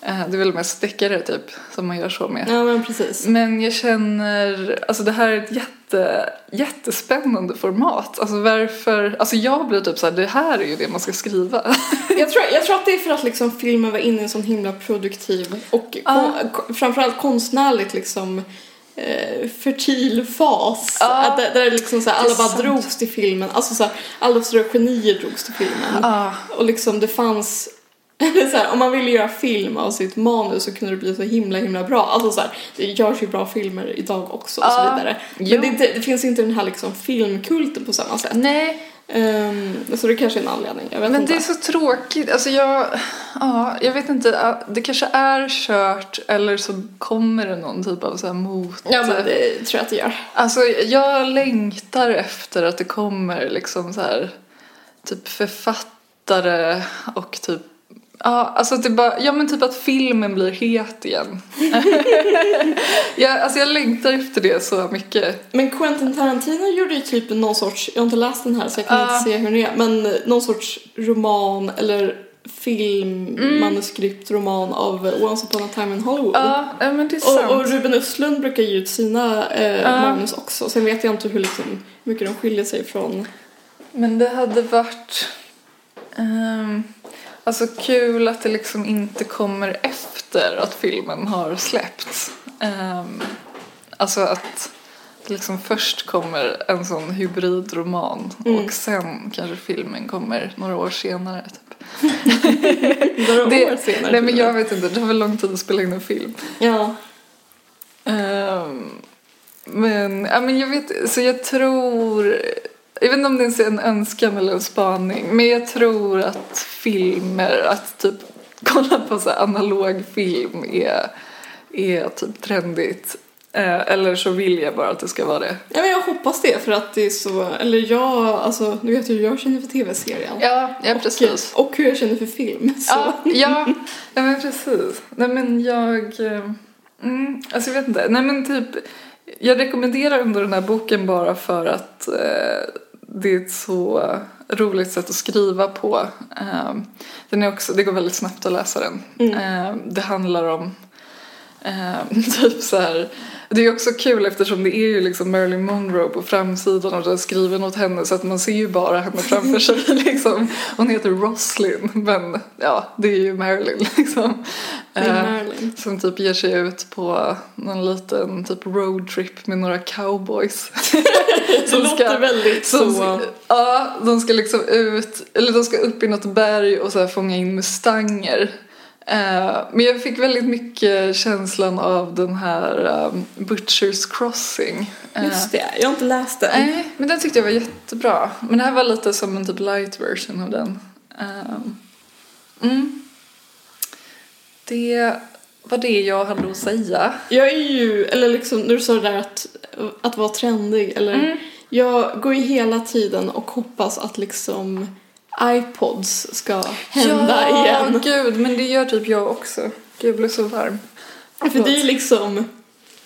Speaker 3: Eh, det är väl mest deckare typ som man gör så med.
Speaker 2: Ja men precis.
Speaker 3: Men jag känner, alltså det här är ett jätte, jättespännande format. Alltså varför, alltså jag blir typ så här, det här är ju det man ska skriva.
Speaker 2: Jag tror, jag tror att det är för att liksom filmen var inne i en sån himla produktiv och
Speaker 3: Ja.
Speaker 2: kon, ko- framförallt konstnärligt liksom eh, fertil fas.
Speaker 3: Ja.
Speaker 2: Att Där, där liksom så här,
Speaker 3: Det
Speaker 2: alla
Speaker 3: är
Speaker 2: bara
Speaker 3: sant.
Speaker 2: drogs till filmen. Alltså så här, alla stora genier drogs till filmen.
Speaker 3: Ja.
Speaker 2: Och liksom det fanns så här, om man ville göra film av sitt manus så kunde det bli så himla himla bra. Alltså så här, det görs ju bra filmer idag också och så
Speaker 3: Ja.
Speaker 2: vidare.
Speaker 3: Jo.
Speaker 2: Men det, är inte, det finns inte den här liksom filmkulten på samma sätt.
Speaker 3: Nej,
Speaker 2: Ehm, så det kanske är en anledning. Jag vet
Speaker 3: Men
Speaker 2: inte.
Speaker 3: det är så tråkigt. Alltså jag, ja, jag vet inte. ja, Det kanske är kört eller så kommer det någon typ av så här mot...
Speaker 2: Ja men det tror jag att det gör.
Speaker 3: Alltså jag längtar efter att det kommer liksom så här typ författare och typ Ja, alltså att det bara, ja men typ att filmen blir het igen. jag, alltså jag längtar efter det så mycket.
Speaker 2: Men Quentin Tarantino gjorde ju typ någon sorts, jag har inte läst den här så jag kan
Speaker 3: Ja.
Speaker 2: inte se hur den är, men någon sorts roman eller film, manuskript, roman av Once upon a time in Hollywood.
Speaker 3: Ja, ja, men det är sant.
Speaker 2: Och, och Ruben Östlund brukar ge ut sina eh, manus också. Sen vet jag inte hur liksom, hur mycket de skiljer sig från...
Speaker 3: Men det hade varit ehm, alltså kul att det liksom inte kommer efter att filmen har släppts. Ehm, alltså att det liksom först kommer en sån hybridroman och sen kanske filmen kommer några år senare. Typ.
Speaker 2: Några
Speaker 3: Det-
Speaker 2: år senare. typ.
Speaker 3: nej men jag vet inte, det var väl lång tid att spela in en film.
Speaker 2: Ja.
Speaker 3: Ehm, men, ja, men jag vet, så jag tror, jag vet inte om det ens är en önskan eller en spaning, men jag tror att filmer, att typ kolla på så här analog film är, är typ trendigt. Eh, eller så vill jag bara att det ska vara det.
Speaker 2: ja men jag hoppas det för att det är så, eller jag, alltså du vet hur jag känner för tv-serien.
Speaker 3: Ja, ja precis.
Speaker 2: Och, och hur jag känner för film. Så.
Speaker 3: Ja, ja, ja men precis. Nej men jag, eh, mm, alltså jag vet inte. Nej men typ, jag rekommenderar ändå den här boken bara för att eh, det är ett så roligt sätt att skriva på. Eh, den är också, det går väldigt snabbt att läsa den. Eh, det handlar om eh, typ så här Det är också kul eftersom det är ju liksom Marilyn Monroe på framsidan och det är skriven åt henne så att man ser ju bara henne framför sig liksom. Hon heter Roslyn men ja, det är ju Marilyn liksom.
Speaker 2: Det är
Speaker 3: Eh,
Speaker 2: Marilyn.
Speaker 3: Som typ ger sig ut på någon liten typ roadtrip med några cowboys.
Speaker 2: Det låter väldigt
Speaker 3: som,
Speaker 2: så.
Speaker 3: Ja, de ska liksom ut, eller de ska upp i något berg och så här fånga in mustanger. Eh, men jag fick väldigt mycket känslan av den här um, Butchers Crossing. Eh,
Speaker 2: Just det, jag har inte läst den.
Speaker 3: Nej, men den tyckte jag var jättebra. Men det här var lite som en typ light version av den. Ehm, mm. Det var det jag hade att säga.
Speaker 2: Jag är ju, eller liksom när du sa det där att, att vara trendig eller Jag går ju hela tiden och hoppas att liksom iPods ska hända
Speaker 3: ja,
Speaker 2: igen.
Speaker 3: gud, men det gör typ jag också. Gud, jag blev så varm.
Speaker 2: För det är liksom,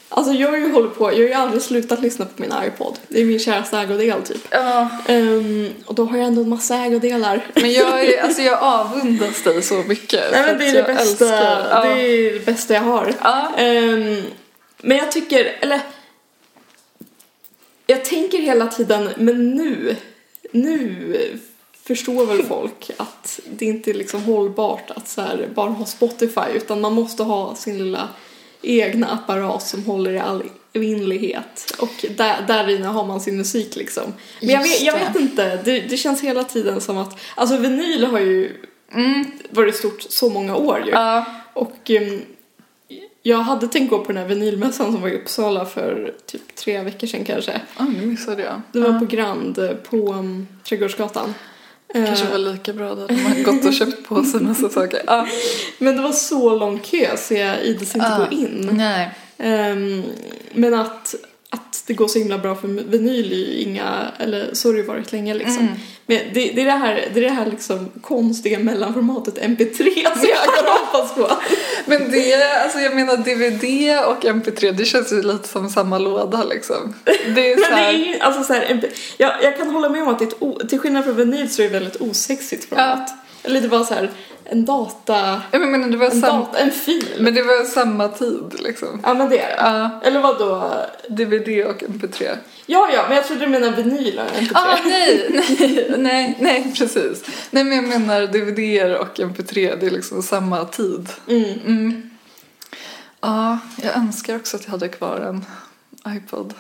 Speaker 2: alltså jag har ju hållit på, jag har ju aldrig slutat lyssna på min iPod. Det är min käraste ägodel typ.
Speaker 3: Ja,
Speaker 2: Ehm, och då har jag ändå en massa ägodelar.
Speaker 3: men jag, är, alltså jag avundas dig så mycket.
Speaker 2: Nej
Speaker 3: för
Speaker 2: men det
Speaker 3: att
Speaker 2: är det
Speaker 3: jag
Speaker 2: bästa,
Speaker 3: älskar-
Speaker 2: det
Speaker 3: ja.
Speaker 2: är det bästa jag har.
Speaker 3: Ja.
Speaker 2: Ehm, men jag tycker, eller jag tänker hela tiden, men nu, nu förstår väl folk att det inte är liksom hållbart att så här bara ha Spotify utan man måste ha sin lilla egna apparat som håller i all evinnerlighet och där, där inne har man sin musik liksom. Men jag
Speaker 3: Just
Speaker 2: vet, jag
Speaker 3: det.
Speaker 2: vet inte, det, det känns hela tiden som att, alltså vinyl har ju varit stort så många år ju.
Speaker 3: Mm. Ja.
Speaker 2: Och ehm, jag hade tänkt gå på den här vinylmässan som var i Uppsala för typ tre veckor sedan kanske.
Speaker 3: Ah, nu missade jag.
Speaker 2: Det var på Grand eh, på um, Trädgårdsgatan.
Speaker 3: Kanske
Speaker 2: Eh,
Speaker 3: var lika bra där de har gått och köpt på sig massa saker. Ja.
Speaker 2: Eh, Men det var så lång kö så jag ides inte
Speaker 3: Ja.
Speaker 2: gå in.
Speaker 3: Ah. Nej.
Speaker 2: Ehm, men att, att det går så himla bra för vinyl är ju inga, eller så har det ju varit länge liksom.
Speaker 3: Mm.
Speaker 2: Men det, det är det här, det är det här liksom konstiga mellanformatet MP3 som jag kan hoppas på.
Speaker 3: Men det, alltså jag menar DVD och MP3, det känns ju lite som samma låda liksom. Det är så
Speaker 2: Men det är
Speaker 3: här,
Speaker 2: ju, alltså så här, MP- jag, jag kan hålla med om att det är ett o, till skillnad från vinyl så är det väldigt osexigt format. Eller det var så här, en data,
Speaker 3: jag menar det var
Speaker 2: en,
Speaker 3: samma,
Speaker 2: data, en fil.
Speaker 3: men det var samma tid liksom.
Speaker 2: ja men det är det.
Speaker 3: Ja,
Speaker 2: Eller vad då?
Speaker 3: DVD och MP3.
Speaker 2: Ja, ja, men jag trodde du menade vinyl eh, och MP3.
Speaker 3: Ah, nej, nej, nej, nej, precis. Nej, men jag menar DVD och MP3, det är liksom samma tid.
Speaker 2: Mm.
Speaker 3: Mm. Ja, jag önskar också att jag hade kvar en iPod.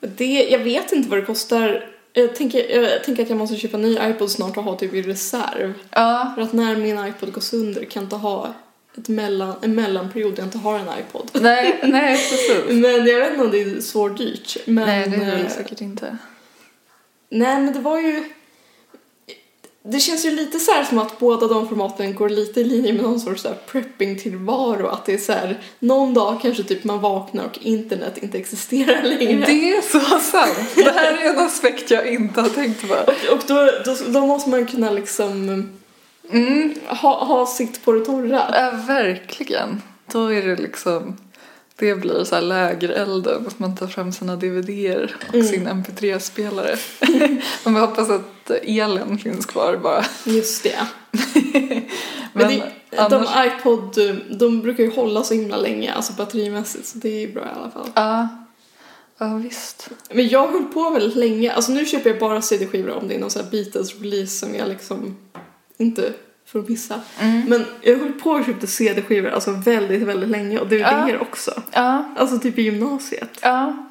Speaker 2: Det, jag vet inte vad det kostar. Jag tänker, jag tänker att jag måste köpa en ny iPod snart och ha typ i reserv.
Speaker 3: Ja,
Speaker 2: För att när min iPod går sönder kan jag inte ha ett mellan, en mellanperiod där jag inte har en iPod.
Speaker 3: nej, nej, precis.
Speaker 2: Men jag vet inte om det är så dyrt. Men,
Speaker 3: Nej, det är det
Speaker 2: eh,
Speaker 3: säkert inte.
Speaker 2: Nej, men det var ju... Det känns ju lite så här som att båda de formaten går lite i linje med någon sorts så här prepping-tillvaro. Att det är så här, någon dag kanske typ man vaknar och internet inte existerar längre.
Speaker 3: Det är så sant. Det här är en aspekt jag inte har tänkt på.
Speaker 2: Och då, då, då måste man kunna liksom
Speaker 3: Mm,
Speaker 2: ha, ha sitt på det torra.
Speaker 3: ja, verkligen. Då är det liksom... Det blir så här lägerelden, att man tar fram sina DVDer och
Speaker 2: Mm.
Speaker 3: sin MP3-spelare. man bara hoppas att elen finns kvar bara.
Speaker 2: Just det. Men,
Speaker 3: Men
Speaker 2: det,
Speaker 3: annars...
Speaker 2: de iPod, de brukar ju hålla så himla länge, alltså batterimässigt, så det är ju bra i alla fall.
Speaker 3: Ja, ja visst.
Speaker 2: Men jag höll på väldigt länge. Alltså nu köper jag bara CD-skivor om det är någon sån här Beatles-release som jag liksom inte får missa. Men jag höll på och köpte CD-skivor alltså väldigt, väldigt länge och DVDer också.
Speaker 3: Ja,
Speaker 2: Alltså typ i gymnasiet.
Speaker 3: ja.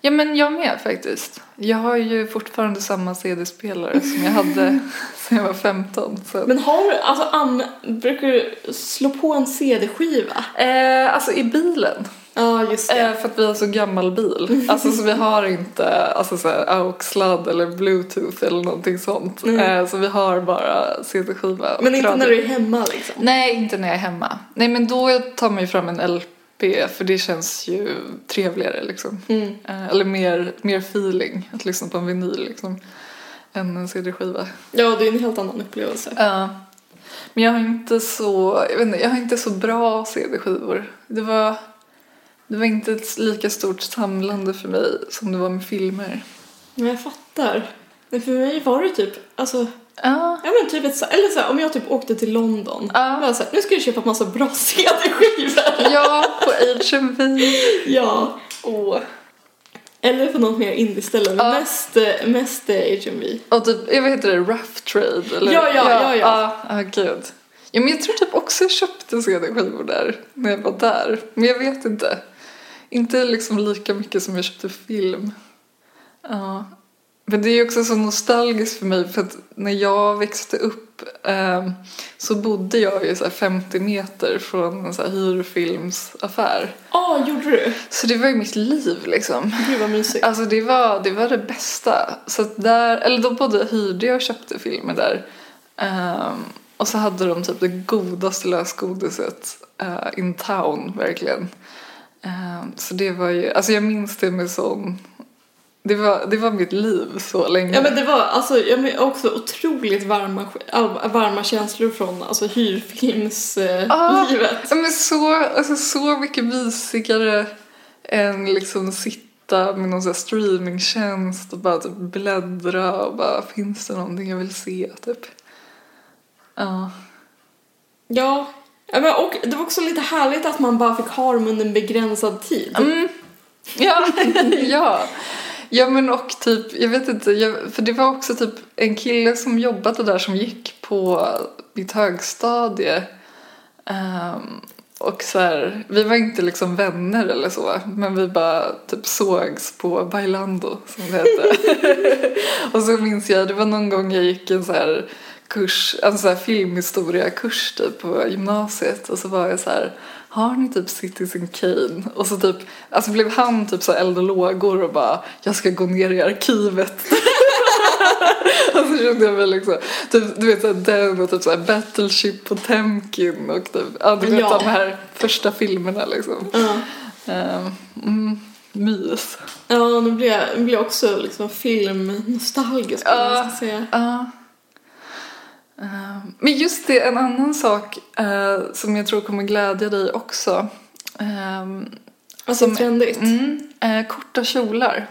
Speaker 3: Ja, men jag med faktiskt. Jag har ju fortfarande samma CD-spelare som jag hade sen jag var 15. Så.
Speaker 2: Men har du, alltså an, brukar du slå på en CD-skiva?
Speaker 3: Eh, alltså i bilen.
Speaker 2: Ja, just det.
Speaker 3: Eh, för att vi har så gammal bil. Alltså så vi har inte alltså, så här, AUX-sladd eller bluetooth eller någonting sånt. Eh, så vi har bara CD-skiva och
Speaker 2: Mm. Men inte
Speaker 3: radio.
Speaker 2: när du är hemma liksom.
Speaker 3: Nej, inte när jag är hemma. Nej, men då tar man ju fram en LP för det känns ju trevligare liksom.
Speaker 2: Mm.
Speaker 3: Eh, eller mer, mer feeling att lyssna på en vinyl liksom. Än en CD-skiva.
Speaker 2: Ja, det är en helt annan upplevelse.
Speaker 3: Ja. Men jag har inte så, jag, vet inte, jag har inte så bra CD-skivor. Det var, det var inte ett lika stort samlande för mig som det var med filmer.
Speaker 2: Men jag fattar. Men för mig var det typ, alltså
Speaker 3: Ja.
Speaker 2: Ja men typ ett, så- eller så här, om jag typ åkte till London.
Speaker 3: Ja.
Speaker 2: Var så här, nu ska jag köpa massa bra CD-skivor.
Speaker 3: Ja, på HMV.
Speaker 2: ja.
Speaker 3: Åh.
Speaker 2: Eller på något mer indie-ställe. Men
Speaker 3: Ja.
Speaker 2: mest, eh, mest eh, HMV.
Speaker 3: Och typ, jag vet inte, rough trade eller?
Speaker 2: Ja, ja, ja, ja.
Speaker 3: Ja, ah, gud. Ja, men jag tror typ också jag köpte CD-skivor där när jag var där. Men jag vet inte. Inte liksom lika mycket som jag köpte film. Ja. Men det är ju också så nostalgiskt för mig för att när jag växte upp ehm, så bodde jag ju så här 50 meter från en så här hyrfilmsaffär.
Speaker 2: Ja, gjorde du?
Speaker 3: Så det var ju mitt liv liksom.
Speaker 2: Gud vad mysigt.
Speaker 3: Alltså det var, det var det bästa. Så att där, eller då både hyrde jag och köpte filmer där. Ehm, och så hade de typ det godaste lösgodiset eh, in town verkligen. Ehm, så det var ju, alltså jag minns det med sån, det var, det var mitt liv så länge.
Speaker 2: Ja men det var alltså, ja, men också otroligt varma, all- varma känslor från alltså, hyrfilmslivet.
Speaker 3: Ah,
Speaker 2: Eh, livet.
Speaker 3: ja, men så, alltså, så mycket mysigare än liksom sitta med någon sån här streamingtjänst och bara typ bläddra och bara finns det någonting jag vill se typ. Ja.
Speaker 2: ja. ja men, och det var också lite härligt att man bara fick ha dem under en begränsad tid.
Speaker 3: Ja, ja. Ja men och typ, jag vet inte, jag, för det var också typ en kille som jobbade där som gick på mitt högstadie. Ehm, och så här, vi var inte liksom vänner eller så, men vi bara typ sågs på Bailando som det hette. och så minns jag, det var någon gång jag gick en så här kurs, en så här filmhistoriakurs typ på gymnasiet och så var jag så här har ni typ Citizen Kane? Och så typ, alltså blev han typ så här eld och lågor och bara jag ska gå ner i arkivet och så kände jag mig liksom, typ, du vet såhär den och typ såhär Battleship Potemkin och typ, ja du vet
Speaker 2: Ja.
Speaker 3: de här första filmerna liksom.
Speaker 2: Ja.
Speaker 3: Ehm, mm, mys.
Speaker 2: Ja, nu blir jag, nu blir jag också liksom filmnostalgisk.
Speaker 3: Ja.
Speaker 2: Uh. Säga.
Speaker 3: Ja. Eh, Men just det, en annan sak eh, som jag tror kommer glädja dig också. Ehm,
Speaker 2: Alltså
Speaker 3: Som-
Speaker 2: trendigt.
Speaker 3: mm, eh, korta kjolar.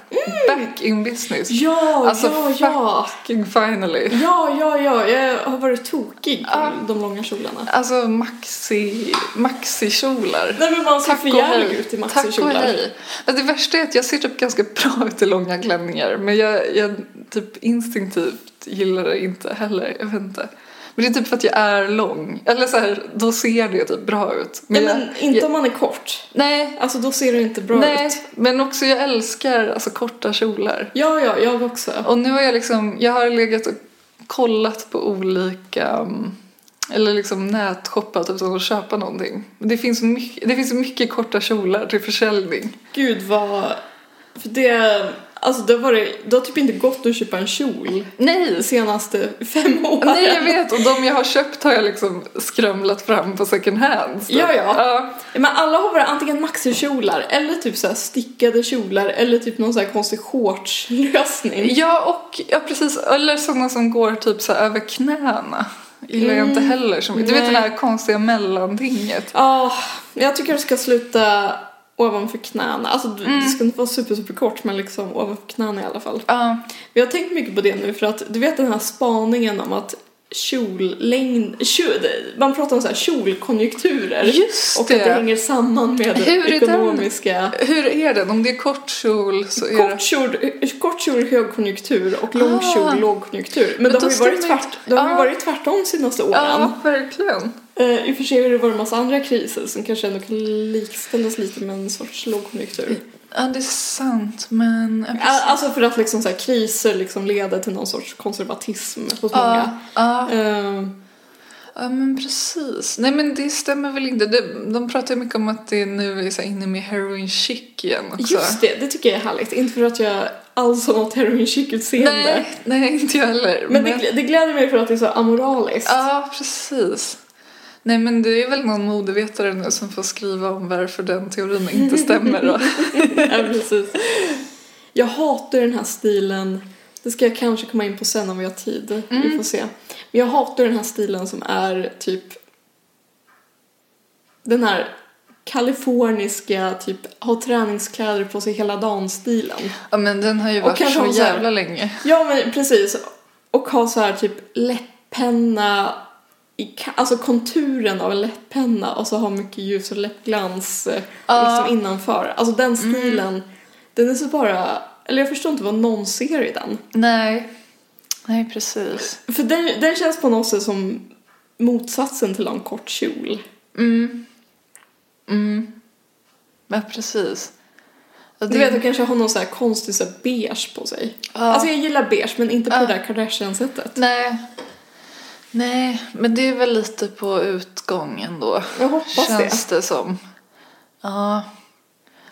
Speaker 3: Back in business.
Speaker 2: Mm. Ja,
Speaker 3: Alltså,
Speaker 2: ja, ja.
Speaker 3: Fucking finally.
Speaker 2: Ja, ja, ja. Jag har varit tokig på
Speaker 3: Ja.
Speaker 2: de långa kjolarna.
Speaker 3: Alltså maxi, maxikjolar.
Speaker 2: Nej, men man ser
Speaker 3: Tack
Speaker 2: för
Speaker 3: och
Speaker 2: jävligt
Speaker 3: hej.
Speaker 2: ut i
Speaker 3: Tack och
Speaker 2: maxikjolar.
Speaker 3: hej. Men det värsta är att jag ser typ ganska bra ut i långa klänningar men jag, jag typ instinktivt gillar det inte heller. Jag vet inte. Men det är typ för att jag är lång. Eller så här, då ser det typ bra ut.
Speaker 2: Nej,
Speaker 3: jag,
Speaker 2: men inte
Speaker 3: jag,
Speaker 2: om man är kort.
Speaker 3: Nej,
Speaker 2: Alltså, då ser det inte bra
Speaker 3: nej.
Speaker 2: ut.
Speaker 3: Men också jag älskar alltså, korta kjolar.
Speaker 2: Ja, ja, jag också.
Speaker 3: Och nu har jag liksom, jag har legat och kollat på olika, mm, eller liksom nätshoppat utan att köpa någonting. Det finns mycket, det finns mycket korta kjolar till försäljning.
Speaker 2: Gud vad... För det... Alltså det har, varit, det har typ inte gått att köpa en kjol de
Speaker 3: Nej,
Speaker 2: senaste fem åren.
Speaker 3: Nej jag vet och de jag har köpt har jag liksom skramlat fram på second hand. Så-
Speaker 2: Ja, ja.
Speaker 3: ja.
Speaker 2: Men alla har varit antingen maxikjolar eller typ så här stickade kjolar eller typ någon så här konstig shortslösning.
Speaker 3: Ja, och ja, precis, eller sådana som går typ så här över knäna. Gillar jag inte heller så mycket. Du vet
Speaker 2: Mm, nej.
Speaker 3: det här konstiga mellantinget.
Speaker 2: Ja, jag tycker det ska sluta ovanför knäna. Alltså det ska inte vara super, super kort men liksom ovanför knäna i alla fall.
Speaker 3: Mm. Ja,
Speaker 2: Vi har tänkt mycket på det nu för att du vet den här spaningen om att kjollängd, kjol, man pratar om så här kjolkonjunkturer.
Speaker 3: Just
Speaker 2: och att det
Speaker 3: det.
Speaker 2: hänger samman med
Speaker 3: Hur är den-
Speaker 2: ekonomiska...
Speaker 3: Hur är den? Om det är kort kjol så är det...
Speaker 2: Kort kjol, kort kjol högkonjunktur och lång
Speaker 3: Ah.
Speaker 2: kjol lågkonjunktur. Men, det
Speaker 3: då
Speaker 2: har ju varit,
Speaker 3: stämmer-
Speaker 2: tvärt, det har ju
Speaker 3: Ah.
Speaker 2: varit tvärtom de senaste åren.
Speaker 3: Ja, verkligen.
Speaker 2: Eh, I och för sig har det varit en massa andra kriser som kanske ändå kan likställas lite med en sorts lågkonjunktur.
Speaker 3: Ja, det är sant, men... Ja,
Speaker 2: Ä- Alltså för att liksom så här, kriser liksom leder till någon sorts konservatism hos
Speaker 3: ja,
Speaker 2: många.
Speaker 3: ja,
Speaker 2: Eh,
Speaker 3: ja, men precis. Nej, men det stämmer väl inte. De, de pratar ju mycket om att det nu är så här inne med heroin chic igen också.
Speaker 2: Just det, det tycker jag är härligt. Inte för att jag alls har något heroin chic-utseende.
Speaker 3: Nej, nej, inte jag heller.
Speaker 2: Men det, gl- det gläder mig för att det är så amoraliskt.
Speaker 3: Ja, precis. Nej, men det är väl någon modevetare nu som får skriva om varför den teorin inte stämmer. Då.
Speaker 2: Ja, precis. Jag hatar den här stilen. Det ska jag kanske komma in på sen om vi har tid. Vi får se. Men jag hatar den här stilen som är typ den här kaliforniska typ ha träningskläder på sig hela dagen stilen.
Speaker 3: Ja, men den har ju varit
Speaker 2: kanske
Speaker 3: så
Speaker 2: hon så här-
Speaker 3: jävla länge.
Speaker 2: Ja men precis. Och ha så här typ läpppenna, i, ka- alltså konturen av en läpppenna och så ha mycket ljus och läppglans eh, liksom innanför. Alltså
Speaker 3: Mm.
Speaker 2: den stilen, den är så bara, eller jag förstår inte vad någon ser i den.
Speaker 3: Nej. Nej, precis.
Speaker 2: För den, den känns på något sätt som motsatsen till en kort kjol.
Speaker 3: Ja, precis. Ja,
Speaker 2: Du
Speaker 3: det-
Speaker 2: vet, de kanske har någon så här konstig så här beige på sig.
Speaker 3: Ja.
Speaker 2: Alltså jag gillar beige, men inte på det där Kardashian-sättet.
Speaker 3: Nej. Nej, men det är väl lite på utgången då.
Speaker 2: Jag hoppas det.
Speaker 3: Känns det som. Ja.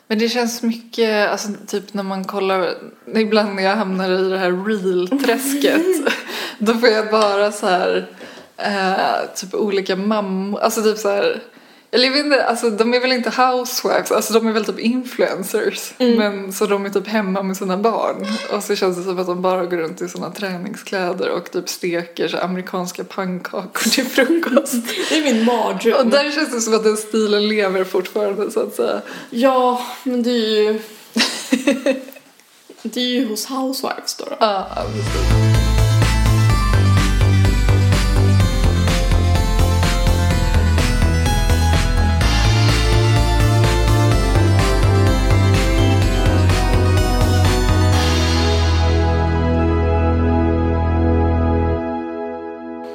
Speaker 3: Men det känns mycket, alltså typ när man kollar, ibland när jag hamnar i det här real-träsket. då får jag bara så här, eh, typ olika mammor, alltså typ så här. Eller jag vet inte, alltså de är väl inte housewives, alltså de är väl typ influencers. Men så de är typ hemma med sina barn. Och så känns det som att de bara går runt i såna träningskläder och typ steker så här amerikanska pannkakor till frukost.
Speaker 2: Det är min mardröm.
Speaker 3: Och där känns det som att den stilen lever fortfarande så att säga.
Speaker 2: Ja, men det är ju... det är ju hos Housewives då. då.
Speaker 3: Ja, precis.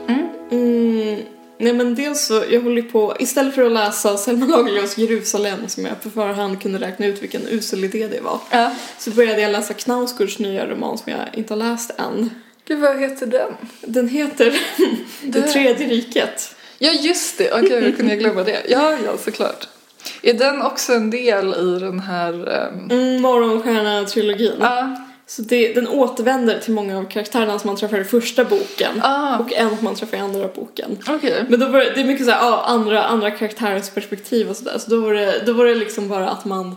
Speaker 2: Mm, nej men dels så, jag håller ju på, istället för att läsa Selma Lagerlöfs Jerusalem som jag på förhand kunde räkna ut vilken usel idé det var.
Speaker 3: Ja.
Speaker 2: Så började jag läsa Knausgårds nya roman som jag inte har läst än.
Speaker 3: Gud, vad heter den?
Speaker 2: Den heter Det
Speaker 3: Det-
Speaker 2: tredje riket.
Speaker 3: Ja, just det. Okej, hur kunde jag glömma det? Ja, ja, såklart. Är den också en del i den här... ehm,
Speaker 2: Mm, Morgonstjärna-trilogin.
Speaker 3: Ja,
Speaker 2: Så det, den återvänder till många av karaktärerna som man träffar i första boken
Speaker 3: Ah.
Speaker 2: och en som man träffar i andra boken.
Speaker 3: okej.
Speaker 2: Men då var det, det är mycket så här, ja, andra, andra karaktärers perspektiv och sådär. Så då var, det, då var det liksom bara att man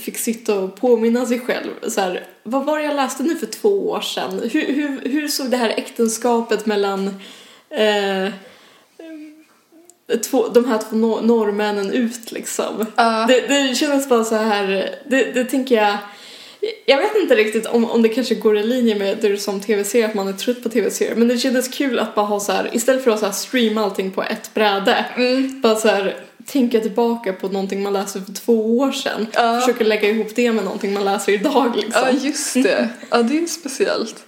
Speaker 2: fick sitta och påminna sig själv. Så här, vad var det jag läste nu för två år sedan? Hur, hur, hur såg det här äktenskapet mellan eh, eh, två, de här två nor- norrmännen ut liksom?
Speaker 3: Ja.
Speaker 2: Det, det kändes bara så här, det, det tänker jag jag vet inte riktigt om, om det kanske går i linje med det du sa om tv-serier, att man är trött på tv-serier. Men det kändes kul att bara ha så här, istället för att så här streama allting på ett bräde,
Speaker 3: Mm.
Speaker 2: bara så här, tänka tillbaka på någonting man läste för två år sedan.
Speaker 3: Ja.
Speaker 2: Försöka lägga ihop det med någonting man läser idag liksom.
Speaker 3: Ja, just det. Ja, det är ju speciellt.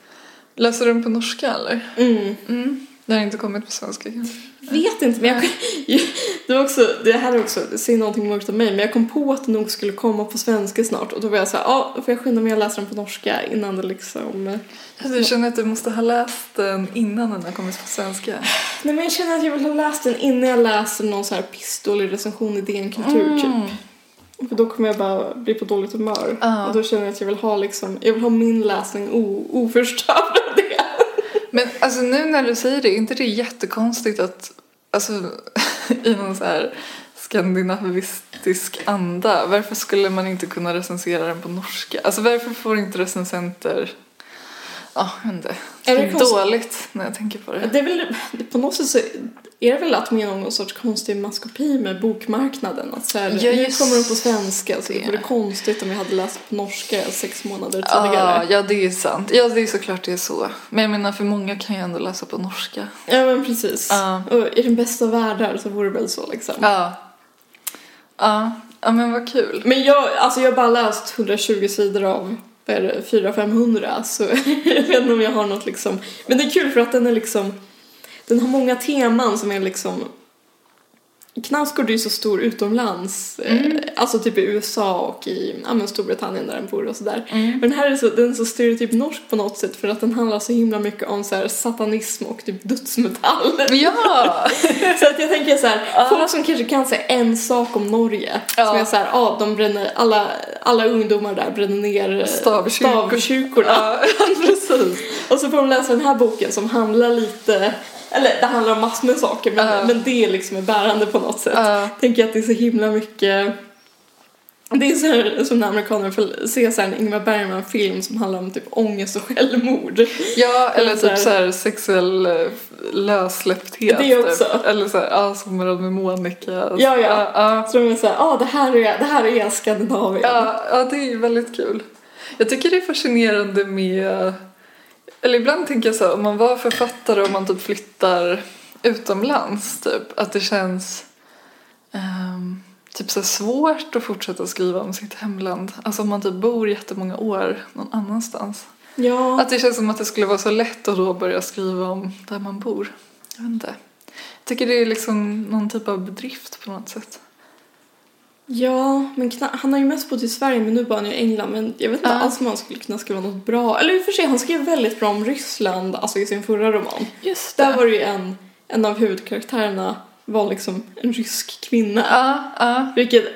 Speaker 3: Läser du den på norska eller?
Speaker 2: Mm.
Speaker 3: Den har inte kommit på svenska kanske?
Speaker 2: Vet inte, men jag, det, var också, det här är också, säg någonting mörkt om mig, men jag kom på att det nog skulle komma på svenska snart och då var jag så här, ja, då får jag skynda mig att läsa den på norska innan det liksom
Speaker 3: Alltså, jag känner att du måste ha läst den innan den har kommit på svenska.
Speaker 2: Nej men jag känner att jag vill ha läst den innan jag läser någon så här pistolig recension i DN Kultur typ. För då kommer jag bara bli på dåligt humör.
Speaker 3: Ja.
Speaker 2: Och då känner jag att jag vill ha liksom, jag vill ha min läsning o- oförstörd av det.
Speaker 3: Men alltså nu när du säger det, är inte det jättekonstigt att alltså, i någon så här skandinavistisk anda, varför skulle man inte kunna recensera den på norska? Alltså varför får inte recensenter Ja, jag vet inte. Det
Speaker 2: Är
Speaker 3: är,
Speaker 2: det konstigt?
Speaker 3: dåligt när jag tänker på det.
Speaker 2: Det är väl, på något sätt så är det väl att de är någon sorts konstig maskopi med bokmarknaden. Att så här,
Speaker 3: Ja,
Speaker 2: nu
Speaker 3: just
Speaker 2: kommer de på svenska så det
Speaker 3: det.
Speaker 2: vore konstigt om jag hade läst på norska sex månader
Speaker 3: Ah,
Speaker 2: tidigare.
Speaker 3: ja, det är sant. Ja, det är såklart det är så. Men jag menar, för många kan ju ändå läsa på norska.
Speaker 2: Ja men precis.
Speaker 3: Ja.
Speaker 2: Och i den bästa av världar så vore det väl så liksom.
Speaker 3: Ja. Ja, ja men vad kul.
Speaker 2: Men jag, alltså jag har bara läst 120 sidor av vad är det, 400-500 så jag vet inte om jag har något liksom. Men det är kul för att den är liksom, den har många teman som är liksom Knausgård är ju så stor utomlands, eh, alltså typ i USA och i ja, men Storbritannien där den bor och sådär. Men den här är så, den är så stereotyp norsk på något sätt för att den handlar så himla mycket om så här satanism och typ dödsmetall.
Speaker 3: Ja!
Speaker 2: Så att jag tänker så här, folk som kanske kan säga en sak om Norge, som
Speaker 3: Ja.
Speaker 2: är så här, ah, de bränner, alla, alla ungdomar där bränner ner eh,
Speaker 3: Stavkyrkor.
Speaker 2: stavkyrkorna.
Speaker 3: Ja, precis.
Speaker 2: Och så får de läsa den här boken som handlar lite, eller det handlar om massor med saker, men,
Speaker 3: Ja.
Speaker 2: men det liksom är bärande på något sätt.
Speaker 3: Ja.
Speaker 2: Tänker jag att det är så himla mycket det är så här, som när amerikaner får se så här en Ingmar Bergman-film som handlar om typ ångest och självmord.
Speaker 3: Ja, eller
Speaker 2: så här-
Speaker 3: typ så här sexuell eh, lössläppthet.
Speaker 2: Det också.
Speaker 3: Typ. Eller så här, ja, Sommarad med Monica. Alltså,
Speaker 2: Ja, ja.
Speaker 3: ja.
Speaker 2: Så de är såhär, ah, det här är, det här är Skandinavien.
Speaker 3: Ja, ja, det är ju väldigt kul. Jag tycker det är fascinerande med Eller ibland tänker jag så här, om man var författare och man typ flyttar utomlands typ, att det känns ehm, typ så här svårt att fortsätta skriva om sitt hemland. Alltså om man typ bor jättemånga år någon annanstans.
Speaker 2: Ja.
Speaker 3: Att det känns som att det skulle vara så lätt att då börja skriva om där man bor. Jag vet inte. Jag tycker det är liksom någon typ av bedrift på något sätt.
Speaker 2: Ja, men kna- han har ju mest bott i Sverige men nu bor han ju i England men jag vet inte
Speaker 3: Ja.
Speaker 2: alls om han skulle kunna skriva något bra. Eller i och för sig, han skrev väldigt bra om Ryssland, alltså i sin förra roman.
Speaker 3: Just
Speaker 2: Där var det ju en, en av huvudkaraktärerna var liksom en rysk kvinna.
Speaker 3: Ja, ja.
Speaker 2: Vilket eh,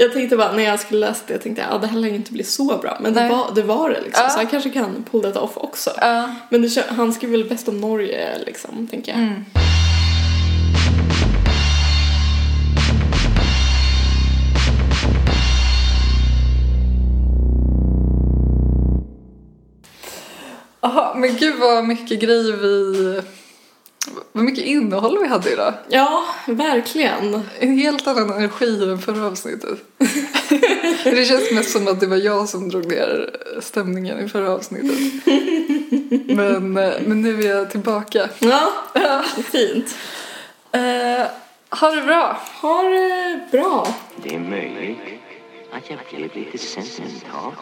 Speaker 2: jag tänkte bara när jag skulle läsa det, jag tänkte att ah, det här lär ju inte bli så bra. Men det
Speaker 3: Nej.
Speaker 2: var, det var det liksom,
Speaker 3: Ja.
Speaker 2: så han kanske kan pull that off också.
Speaker 3: ja.
Speaker 2: Men det, kän- han skriver väl bäst om Norge liksom, tänker jag.
Speaker 3: Mm. Jaha, men gud vad mycket grejer vi... Vad mycket innehåll vi hade idag.
Speaker 2: Ja, verkligen.
Speaker 3: En helt annan energi än förra avsnittet. det känns mest som att det var jag som drog ner stämningen i förra avsnittet. Men, eh, men nu är jag tillbaka.
Speaker 2: Ja, fint.
Speaker 3: Eh, ha det bra!
Speaker 2: Ha det bra.
Speaker 1: Det är möjligt att jag blev lite sentimental.